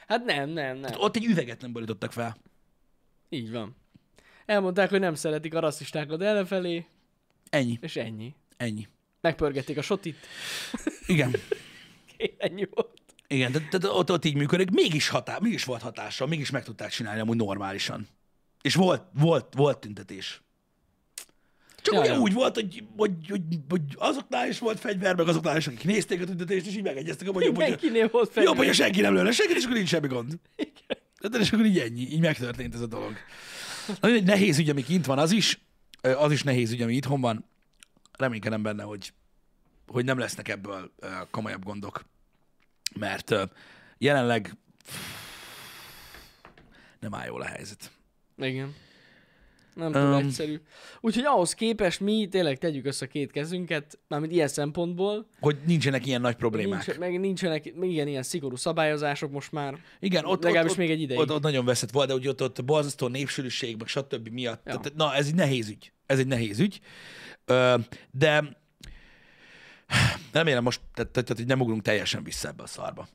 S2: Hát nem, nem, nem.
S1: Ott egy üveget nem borítottak fel.
S2: Így van. Elmondták, hogy nem szeretik a rasszistákat ellenfelé,
S1: Ennyi,
S2: és ennyi.
S1: ennyi.
S2: Megpörgették a sotit.
S1: Igen,
S2: Ennyi volt.
S1: igen, tehát, tehát ott, ott így működik. Mégis, hatá, mégis volt hatása, mégis meg tudták csinálni amúgy normálisan. És volt, volt, volt tüntetés. Csak
S2: Ja,
S1: ugye
S2: ja.
S1: úgy volt, hogy, hogy, hogy, hogy, azoknál is volt fegyver, meg azoknál is, akik nézték a tüntetést, és így megegyeztek abban, hogy jobb, hogy,
S2: Mindenkinél volt fel.
S1: Jobb, hogy a senki nem lőne senki, és akkor nincs semmi gond. De és akkor így ennyi, így megtörtént ez a dolog. Nagyon egy nehéz ügy, ami kint van, az is, ö, az is nehéz ügy, ami itthon van. Reménykedem benne, hogy, hogy nem lesznek ebből ö, komolyabb gondok. Mert ö, jelenleg nem áll jól a helyzet.
S2: Igen. Nem túl
S1: Öm.
S2: egyszerű. Úgyhogy ahhoz képest mi tényleg tegyük össze a két kezünket, mármint ilyen szempontból.
S1: Hogy nincsenek ilyen nagy problémák.
S2: Nincs, meg nincsenek igen, ilyen szigorú szabályozások most már.
S1: Igen, ott,
S2: Legalábbis
S1: ott,
S2: még egy ideig.
S1: Ott, ott nagyon veszett volt, de ugye ott, ott a borzasztó népsűrűség, meg stb. miatt.
S2: Ja.
S1: Tehát, na, ez egy nehéz ügy. Ez egy nehéz ügy. Ö, de remélem most, tehát, tehát, tehát, hogy nem ugrunk teljesen vissza ebbe a szarba.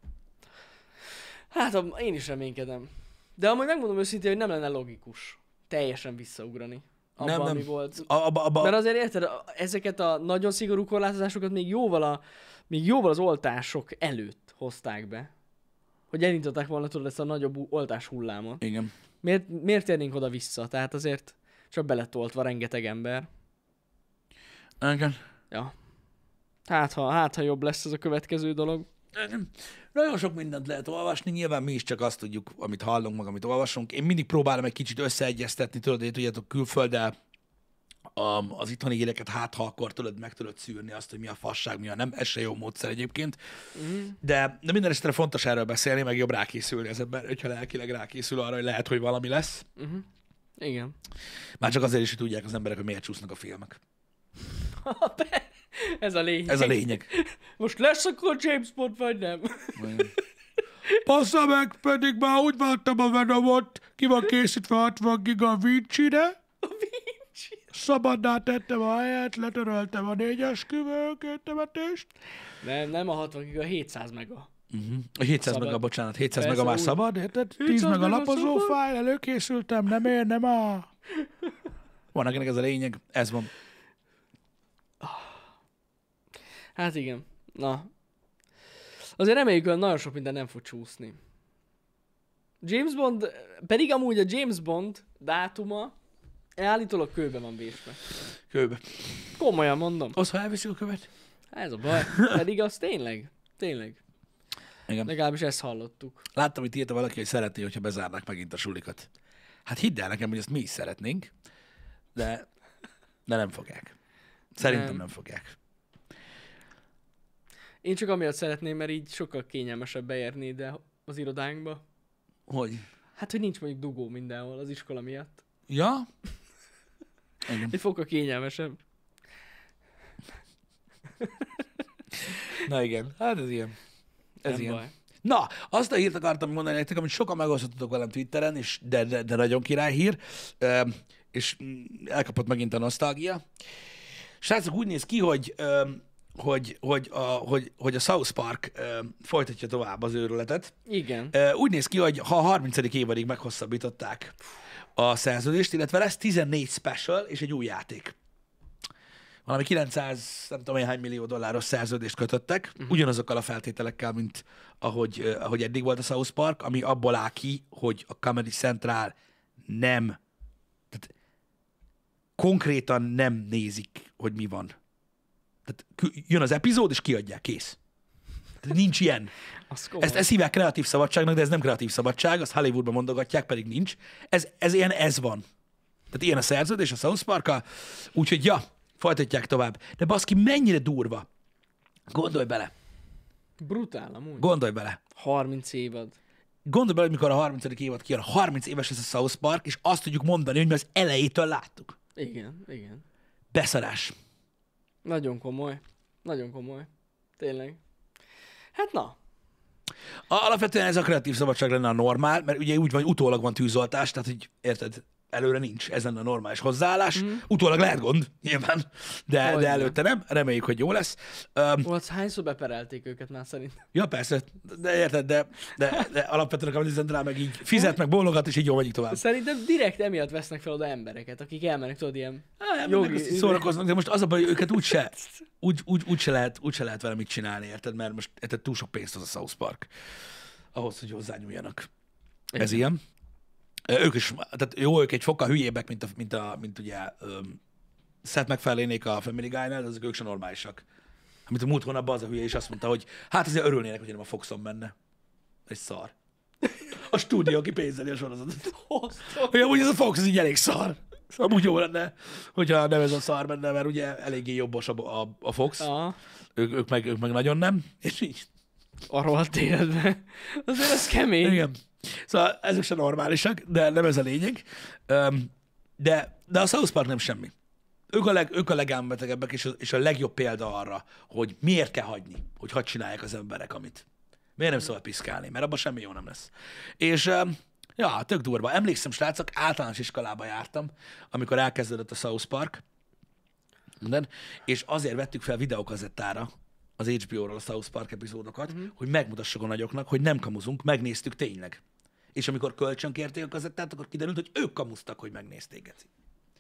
S2: Hát am- én is reménykedem. De amúgy megmondom őszintén, hogy nem lenne logikus teljesen visszaugrani.
S1: nem,
S2: Abban, nem,
S1: nem.
S2: ami volt.
S1: A, abba, abba,
S2: Mert azért érted, a- ezeket a nagyon szigorú korlátozásokat még jóval, a, még jóval az oltások előtt hozták be. Hogy elindították volna tudod ezt a nagyobb u- oltás hullámot.
S1: Igen.
S2: Miért, miért térnénk oda vissza? Tehát azért csak beletoltva rengeteg ember.
S1: Igen.
S2: Ja. Hát ha, hát, ha jobb lesz ez a következő dolog.
S1: Igen. Nagyon sok mindent lehet olvasni, nyilván mi is csak azt tudjuk, amit hallunk, meg amit olvasunk. Én mindig próbálom egy kicsit összeegyeztetni, tudod, hogy tudjátok, külfölddel um, az itthoni híreket, hát ha akkor tudod, meg tudod szűrni azt, hogy mi a fasság, mi a nem. Ez se jó módszer egyébként. De, de minden esetre fontos erről beszélni, meg jobb rákészülni az ember, hogyha lelkileg rákészül arra, hogy lehet, hogy valami lesz.
S2: Igen.
S1: Már csak azért is, hogy tudják az emberek, hogy miért csúsznak a filmek.
S2: ez a lényeg.
S1: Ez a lényeg.
S2: Most lesz akkor James Bond, vagy nem? (laughs)
S1: Passza meg, pedig már úgy vártam a Venomot, ki van készítve 60 giga a Vincsire.
S2: A Vinci.
S1: Szabadná tettem a helyet, letöröltem a négyes kivőkétemetést.
S2: Nem, nem a 60 giga, 700 mega.
S1: A 700
S2: Szabad.
S1: meg a bocsánat, 700
S2: Persze,
S1: meg a már
S2: úgy.
S1: szabad, érted? 10
S2: 700
S1: meg a
S2: meg a
S1: lapozó
S2: szabad.
S1: fájl, előkészültem, nem ér, nem a... Van, akinek ez a lényeg, ez van.
S2: Hát igen. Na. Azért reméljük, hogy nagyon sok minden nem fog csúszni. James Bond, pedig amúgy a James Bond dátuma Állítólag kőbe van vésve.
S1: Kőbe.
S2: Komolyan mondom.
S1: Az, ha elviszik a követ?
S2: Hát Ez a baj. Pedig az tényleg. Tényleg.
S1: Igen.
S2: Legalábbis ezt hallottuk.
S1: Láttam, hogy írta valaki, hogy szeretné, hogyha bezárnák megint a sulikat. Hát hidd el nekem, hogy ezt mi is szeretnénk, de, de nem fogják. Szerintem nem,
S2: Nem.
S1: nem fogják.
S2: Én csak amiatt szeretném, mert így sokkal kényelmesebb beérni ide az irodánkba.
S1: Hogy?
S2: Hát, hogy nincs mondjuk dugó mindenhol az iskola miatt.
S1: Ja? Igen.
S2: Egy fokkal kényelmesebb.
S1: Na igen, hát ez ilyen. Ez
S2: nem
S1: ilyen.
S2: baj.
S1: Na, azt a hírt akartam mondani nektek, amit sokan megosztottatok velem Twitteren, és de, de, de nagyon király hír, Ö, és mm, elkapott megint a nosztalgia. Srácok, úgy néz ki, hogy, ö, hogy, hogy, a, hogy, hogy a South Park ö, folytatja tovább az őrületet.
S2: Igen.
S1: Ö, Úgy néz ki, hogy ha a 30. évadig meghosszabbították a szerződést, illetve lesz 14 special és egy új játék. Valami 900, nem tudom, én hány millió dolláros szerződést kötöttek, uh-huh. ugyanazokkal a feltételekkel, mint ahogy, ö, ahogy eddig volt a South Park, ami abból áll ki, hogy a Comedy Central nem, tehát konkrétan nem nézik, hogy mi van. Tehát kü- jön az epizód, és kiadják, kész. Tehát nincs ilyen.
S2: Az komoly.
S1: Ezt, ezt hívják kreatív szabadságnak, de ez nem kreatív szabadság, azt Hollywoodban mondogatják, pedig nincs. Ez, ez ilyen ez van. Tehát ilyen a szerződés a South park úgyhogy ja, folytatják tovább. De baszki, mennyire durva. Gondolj bele,
S2: Brutál amúgy.
S1: gondolj bele.
S2: 30 évad.
S1: Gondolj bele, hogy mikor a 30. évad kijön, 30 éves lesz a South Park, és azt tudjuk mondani, hogy mi az elejétől láttuk.
S2: Igen, igen.
S1: Beszarás.
S2: Nagyon komoly. Nagyon komoly. Tényleg. Hát na.
S1: A- Alapvetően ez a kreatív szabadság lenne a normál, mert ugye úgy van, hogy utólag van tűzoltás, tehát hogy érted, előre nincs, ez lenne a normális hozzáállás. Mm. Utólag lehet gond, nyilván, de, de
S2: Hogyne.
S1: előtte nem. Reméljük, hogy jó lesz. Um,
S2: Volt hányszor beperelték őket már szerintem?
S1: ja, persze, de érted, de, de, de alapvetően a Kamilizentrál meg így fizet, meg bólogat, és így jól megyik tovább.
S2: Szerintem direkt emiatt vesznek fel oda embereket, akik elmennek, tudod, ilyen...
S1: Hát,
S2: Jogi-
S1: meg azt így szórakoznak, de most az a baj, hogy őket úgyse, úgy, úgy, úgyse lehet, úgyse lehet vele mit csinálni, érted? Mert most érted, túl sok pénzt az a South Park ahhoz, hogy hozzányúljanak. Ez ilyen. Ö, Ők is, tehát jó, ők egy fokkal hülyébbek, mint, a, mint, a, mint ugye um, Seth megfelelnék a Family Guy-nál, de azok ők sem normálisak. Amit a múlt hónapban az a hülye is azt mondta, hogy hát azért örülnének, hogy nem a Foxon benne. Egy szar. A stúdió, aki pénzeli a sorozatot.
S2: Hoztok.
S1: Hogy amúgy ez a Fox ez így elég szar. Amúgy jó lenne, hogyha nem ez a szar menne, mert ugye eléggé jobbos a, a, a Fox.
S2: Aha.
S1: Ők, ők, meg, ők meg nagyon nem. És így.
S2: Arról a tévedben. Azért ez kemény.
S1: Igen. Szóval ezek sem normálisak, de nem ez a lényeg. Öm, de, de a South Park nem semmi. Ők a, leg, ők a legámbetegebbek, és a, és a legjobb példa arra, hogy miért kell hagyni, hogy hadd csinálják az emberek, amit. Miért nem szabad piszkálni, mert abban semmi jó nem lesz. És öm, ja, tök durva. Emlékszem, srácok, általános iskolába jártam, amikor elkezdődött a South Park, minden, és azért vettük fel videokazettára az HBO-ról a South Park epizódokat,
S2: Mhm.
S1: uh-huh. hogy megmutassuk a nagyoknak, hogy nem kamuzunk, megnézték tényleg. És amikor kölcsönkérték a kazettát, akkor kiderült, hogy ők kamuztak, hogy megnézték. Geci.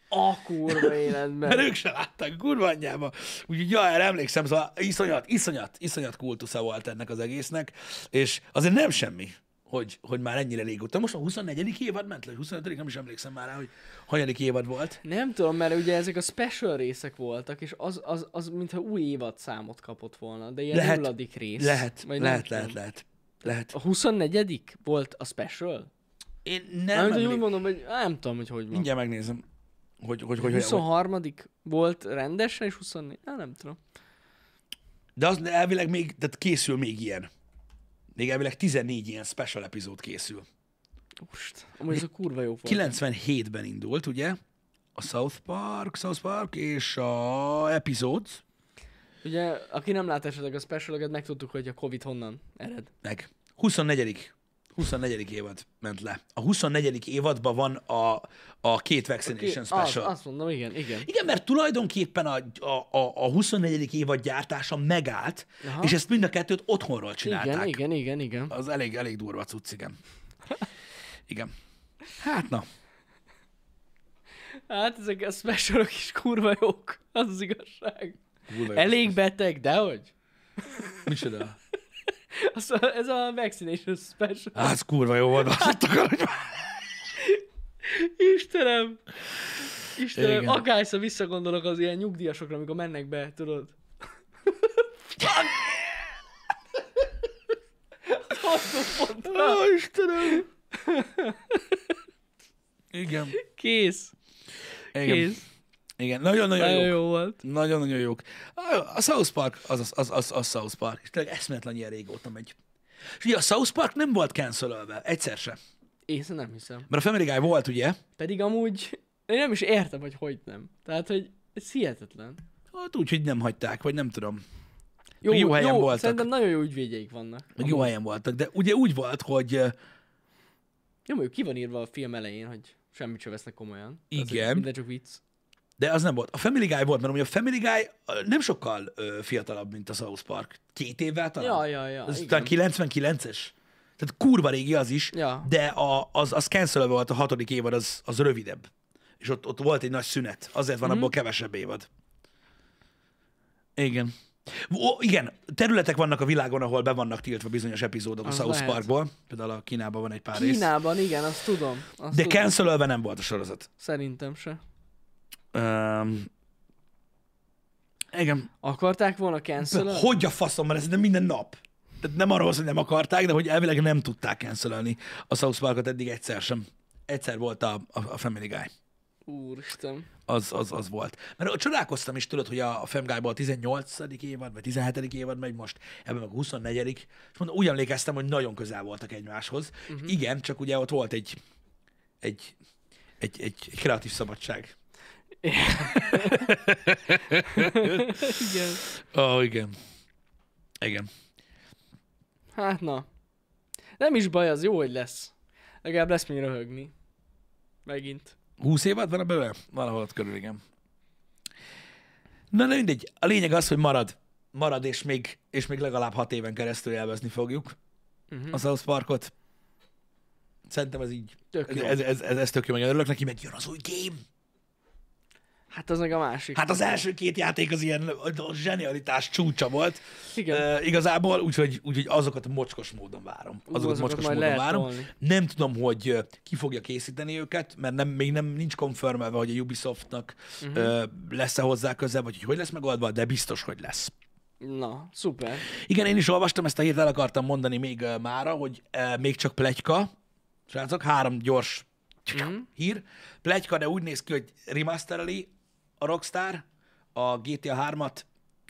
S2: A kurva életben.
S1: Mert ők se látták, kurva anyjába. Úgyhogy ja, erre emlékszem, szóval iszonyat, iszonyat, iszonyat kultusza volt ennek az egésznek, és azért nem semmi, hogy, hogy már ennyire régóta. Most a 24. évad ment le, vagy 25. nem is emlékszem már rá, hogy hanyadik évad volt.
S2: Nem tudom, mert ugye ezek a special részek voltak, és az, az, az mintha új évad számot kapott volna, de ilyen
S1: Lehet.
S2: nulladik rész.
S1: Lehet,
S2: Vagy nem
S1: lehet,
S2: tudom.
S1: lehet, lehet, lehet.
S2: A 24 volt a special?
S1: Én
S2: Nem,
S1: nem,
S2: nem úgy
S1: emlékszem.
S2: mondom, hogy á, nem tudom, hogy hogy van.
S1: Mindjárt megnézem, hogy hogy, hogy, hogy, hogy
S2: 23 volt rendesen, és 24 á, nem tudom.
S1: De az elvileg még, tehát készül még ilyen. Még elvileg 14 ilyen special epizód készül.
S2: Ust, amúgy ez a kurva jó volt.
S1: 97-ben indult, ugye? A South Park, South Park és a Episodes,
S2: Ugye, aki nem lát esetleg a specialokat, megtudtuk, hogy a Covid honnan ered.
S1: meg 24. 24. évad ment le. A 24. évadban van a, a két Vaccination
S2: az,
S1: Special.
S2: azt mondom, igen, igen.
S1: Igen, mert tulajdonképpen a, a, a, a 24. évad gyártása megállt, Aha.
S2: Aha.
S1: és ezt mind a kettőt otthonról csinálták.
S2: Igen, igen, igen, igen.
S1: Az elég, elég durva cucc, igen. Igen. Hát na.
S2: Hát ezek a specialok is kurva jók, az, az igazság.
S1: Kurva jó.
S2: Elég beteg, dehogy.
S1: Micsoda?
S2: Az a, ez a vaccination special.
S1: Hát, kurva jó volt. Hát,
S2: (laughs) Istenem! Istenem,
S1: Igen.
S2: akárszor visszagondolok az ilyen nyugdíjasokra, amikor mennek be, tudod? Fuck!
S1: Ó, Istenem! Igen.
S2: Kész,
S1: Igen.
S2: kész.
S1: Igen. Nagyon-nagyon
S2: Nagyon
S1: jó.
S2: jó volt.
S1: Nagyon-nagyon jók. A- A South Park az az, az, az, az South Park, és tényleg eszméletlen ilyen régóta megy. És ugye a South Park nem volt cancelölve, egyszer sem.
S2: Én nem hiszem.
S1: Mert a Family Guy volt, ugye?
S2: Pedig amúgy én nem is értem, hogy hogy nem. Tehát, hogy ez hihetetlen.
S1: Hát úgy, hogy nem hagyták, vagy nem tudom. Meg jó helyen voltak.
S2: Szerintem nagyon jó ügyvédjeik vannak.
S1: Meg jó helyen voltak, de ugye úgy volt, hogy eh,
S2: Jó, mondjuk ki van írva a film elején, hogy semmit sem vesznek komolyan. Tehát, hogy
S1: Igen.
S2: Minden csak vicc.
S1: de az nem volt. A Family Guy volt, mert ugye a Family Guy eh, nem sokkal ö, fiatalabb, mint a South Park. Két évvel talán?
S2: Ja, ja, ja.
S1: Az
S2: igen.
S1: talán 99-es. Tehát kurva régi az is,
S2: Ja.
S1: de a, az, az cancelve volt a hatodik évad, az, az rövidebb. És ott, ott volt egy nagy szünet. Azért
S2: Mhm.
S1: van mm-hmm. abból kevesebb évad. Igen. Ó, igen, területek vannak a világon, ahol be vannak tiltva bizonyos epizódok
S2: Az
S1: a South
S2: lehet.
S1: Parkból. Például a Kínában van egy pár rész.
S2: Kínában, igen, azt tudom. Azt
S1: De
S2: tudom.
S1: cancelölve nem volt a sorozat.
S2: Szerintem se.
S1: Um, igen.
S2: Akarták volna cancel
S1: Hogy a faszom, mert ez nem minden nap. Tehát nem arról van, szó, hogy nem akarták, de hogy elvileg nem tudták cancelölni a South Parkot eddig egyszer sem. Egyszer volt a, a, a Family Guy.
S2: Úristen.
S1: Az, az, az volt. Mert csodálkoztam is, tudod, hogy a, a Family Guy-ból a 18. évad, vagy 17. évad megy most, ebben meg a 24. És mondom, úgy emlékeztem, hogy nagyon közel voltak egymáshoz. Uh-huh. Igen, csak ugye ott volt egy, egy, egy, egy, egy kreatív szabadság.
S2: Igen.
S1: Ó, oh, igen. Igen.
S2: Hát na. Nem is baj, az jó, hogy lesz. Legalább lesz mi röhögni. Megint.
S1: 20 évad van ebben? Valahol ott körül, igen. Na, de mindegy. A lényeg az, hogy marad. Marad, és még, és még legalább hat éven keresztül élvezni fogjuk
S2: Mhm.
S1: a South Parkot. Szerintem ez így.
S2: Tök
S1: Ez,
S2: jó.
S1: ez, ez, ez, ez tök jó, meg örülök neki, mert jön az új game.
S2: Hát az meg a másik.
S1: Hát az első két játék az ilyen a zsenialitás csúcsa volt.
S2: igen.
S1: Uh, igazából, úgyhogy, úgyhogy azokat mocskos módon várom.
S2: Ú,
S1: Azokat, azokat
S2: azokat
S1: mocskos
S2: majd
S1: módon
S2: lehet
S1: várom.
S2: tolni.
S1: Nem tudom, hogy ö, ki fogja készíteni őket, mert nem, még nem nincs konfirmelve, hogy a Ubisoftnak
S2: Mhm.
S1: uh-huh. lesz-e hozzá köze, vagy hogy hogy lesz megoldva, de biztos, hogy lesz.
S2: Na, szuper.
S1: Igen, én is olvastam ezt a hírt, el akartam mondani még ö, mára, hogy ö, még csak plegyka, srácok, három gyors hír. Plegyka, de úgy néz ki, hogy remastereli a Rockstar, a GTA 3-at,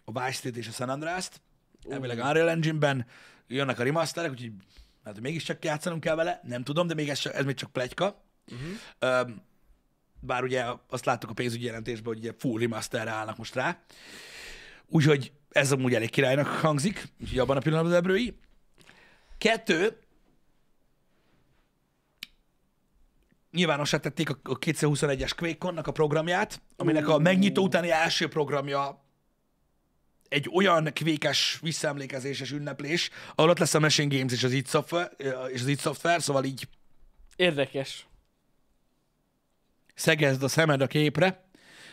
S1: a Vice City és a San Andreas-t, elvileg Unreal Engine-ben jönnek a remasterek, úgyhogy hát mégiscsak játszanunk kell vele, nem tudom, de még ez, csak- ez még csak plegyka. Uh-huh. Bár ugye azt láttuk a pénzügyi jelentésben, hogy ugye full remasterre állnak most rá. Úgyhogy ez amúgy elég királynak hangzik, úgyhogy abban a pillanatban az ebrői. Kettő, nyilvánossá tették a a 2021-es quake a programját, aminek a megnyitó utáni első programja egy olyan kvékes visszaemlékezéses ünneplés, ahol ott lesz a Machine Games és az id Software, és az id Software szóval így
S2: Érdekes.
S1: szegezd a szemed a képre,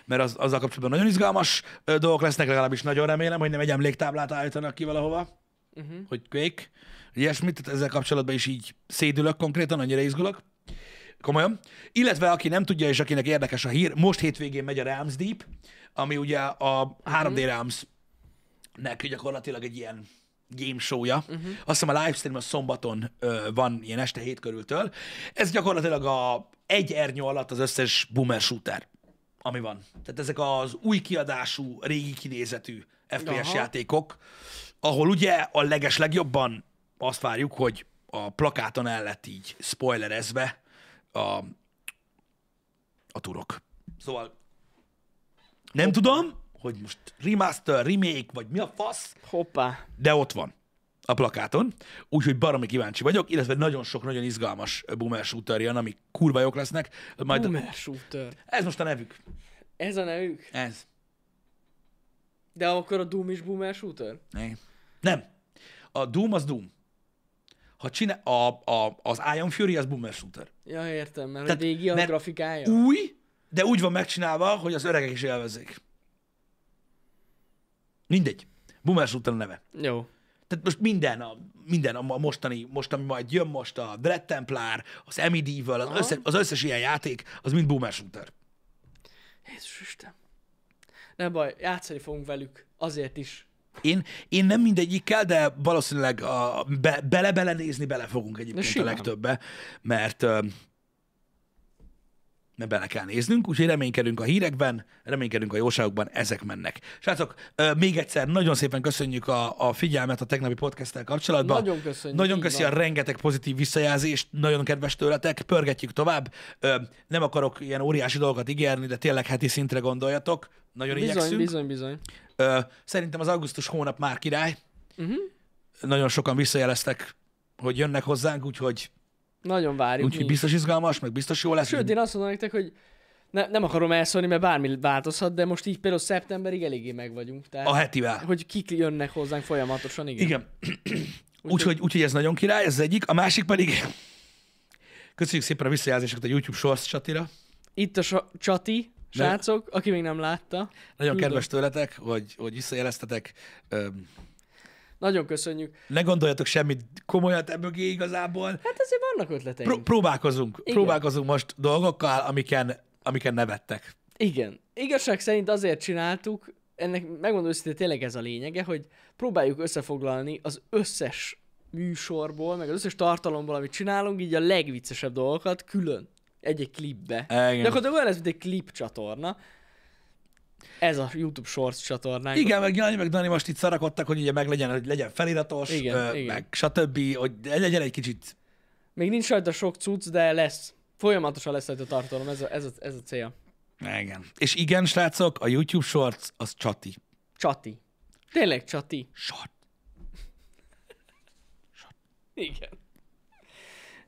S1: mert az, azzal kapcsolatban nagyon izgalmas ö, dolgok lesznek, legalábbis nagyon remélem, hogy nem egy emléktáblát állítanak ki valahova, uh-huh. hogy kvék, ilyesmit, tehát ezzel kapcsolatban is így szédülök konkrétan, annyira izgulok. Komolyan. Illetve aki nem tudja, és akinek érdekes a hír, most hétvégén megy a Realms Deep, ami ugye a 3D Realms nek gyakorlatilag egy ilyen game show-ja. Uh-huh. Azt hiszem a livestream a szombaton ö, van ilyen este hét körültől. Ez gyakorlatilag a egy ernyő alatt az összes boomer shooter, ami van. Tehát ezek az új kiadású, régi kinézetű FPS
S2: Aha.
S1: játékok, ahol ugye a leges legjobban azt várjuk, hogy a plakáton el lett így spoilerezve a, a turok. Szóval nem tudom, hogy most remaster, remake, vagy mi a fasz,
S2: Hoppá.
S1: de ott van a plakáton, úgyhogy baromi kíváncsi vagyok, illetve nagyon sok, nagyon izgalmas boomer shooter jön, amik kurva jók lesznek. Majd
S2: Boomer shooter.
S1: Ez most a nevük.
S2: Ez a nevük?
S1: Ez.
S2: De akkor a Doom is boomer shooter?
S1: Igen. Nem. A Doom az Doom. Ha csinál, a, a, az Iron Fury az boomer shooter.
S2: Ja, értem, mert
S1: Tehát-
S2: Tehát, régi a
S1: mert-
S2: grafikája.
S1: Új, de úgy van megcsinálva, hogy az öregek is élvezzék. Mindegy. Boomer shooter a neve.
S2: Jó.
S1: tehát most minden, a, minden a mostani, most ami majd jön most, a Dread Templar, az Amidival, az, össze, az összes ilyen játék, az mind boomer shooter.
S2: Jézus Isten. Nem baj, játszani fogunk velük. Azért is.
S1: Én, én nem mindegyikkel, de valószínűleg a be, bele-bele nézni bele fogunk egyébként a
S2: simán.
S1: legtöbbbe, mert, ö, mert bele kell néznünk, úgyhogy reménykedünk a hírekben, reménykedünk a jóságokban, ezek mennek. Srácok, ö, még egyszer nagyon szépen köszönjük a, a figyelmet a tegnapi podcasttel kapcsolatban.
S2: Nagyon köszönjük,
S1: Nagyon
S2: így
S1: köszi a
S2: van.
S1: rengeteg pozitív visszajelzést, nagyon kedves tőletek, pörgetjük tovább. Ö, nem akarok ilyen óriási dolgokat ígérni, de tényleg heti szintre gondoljatok. Nagyon
S2: Bizony,
S1: igyekszünk.
S2: bizony, bizony.
S1: Ö, szerintem az augusztus hónap már király.
S2: Mhm.
S1: Nagyon sokan visszajeleztek, hogy jönnek hozzánk, úgyhogy,
S2: Nagyon várjuk. mi
S1: úgyhogy
S2: is.
S1: biztos izgalmas, meg biztos jó lesz.
S2: Sőt, én azt mondom nektek, hogy ne, nem akarom elszólni, mert bármi változhat, de most így például szeptemberig eléggé meg vagyunk. Tehát,
S1: a hetivel.
S2: hogy kik jönnek hozzánk folyamatosan, igen.
S1: Igen. Úgyhogy, úgyhogy ez nagyon király, ez az egyik. A másik pedig... Köszönjük szépen a visszajelzéseket a YouTube Shorts csatira.
S2: Itt a sa- csati, srácok, aki még nem látta.
S1: Nagyon
S2: Tudom.
S1: kedves tőletek, hogy, hogy visszajeleztetek. Öm,
S2: Nagyon köszönjük.
S1: Ne gondoljatok semmit komolyat emögé igazából.
S2: Hát azért vannak ötleteink.
S1: Pró- próbálkozunk.
S2: Igen.
S1: Próbálkozunk most dolgokkal, amiken, amiken nevettek.
S2: Igen. Igazság szerint azért csináltuk, ennek megmondom őszintén, tényleg ez a lényege, hogy próbáljuk összefoglalni az összes műsorból, meg az összes tartalomból, amit csinálunk, így a legviccesebb dolgokat külön. Egy-egy klipbe.
S1: E, Igen.
S2: Gyakorlatilag olyan lesz, mint egy klip csatorna. Ez a YouTube Shorts csatornánk.
S1: Igen, meg Jani, meg Dani most itt szarakodtak, hogy ugye meg legyen, hogy legyen feliratos,
S2: Igen,
S1: ö,
S2: igen.
S1: meg stb., hogy legyen egy kicsit.
S2: Még nincs rajta sok cucc, de lesz. Folyamatosan lesz rajta tartalom, ez a, ez a, ez a cél.
S1: Igen. És igen, srácok, a YouTube Shorts az csati.
S2: Csati. Tényleg csati.
S1: Short.
S2: Igen.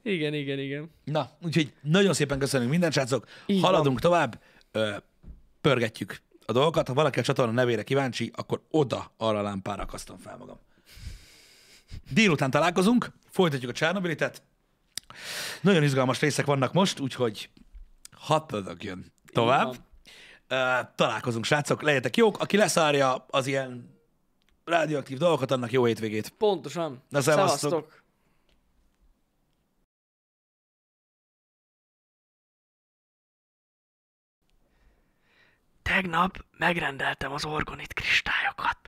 S2: Igen, igen, igen.
S1: Na, úgyhogy nagyon szépen köszönünk mindent, srácok.
S2: Így van.
S1: Haladunk tovább, ö, pörgetjük a dolgokat. Ha valaki a csatorna nevére kíváncsi, akkor oda arra a lámpára akasztom fel magam. Délután találkozunk, folytatjuk a Csernobilitet. Nagyon izgalmas részek vannak most, úgyhogy hatodak jön tovább.
S2: Így van.
S1: Ö, találkozunk, srácok, legyetek jók. Aki leszárja az ilyen radioaktív dolgokat, annak jó hétvégét.
S2: Pontosan.
S1: Na, szevasztok.
S3: Tegnap megrendeltem az orgonit kristályokat.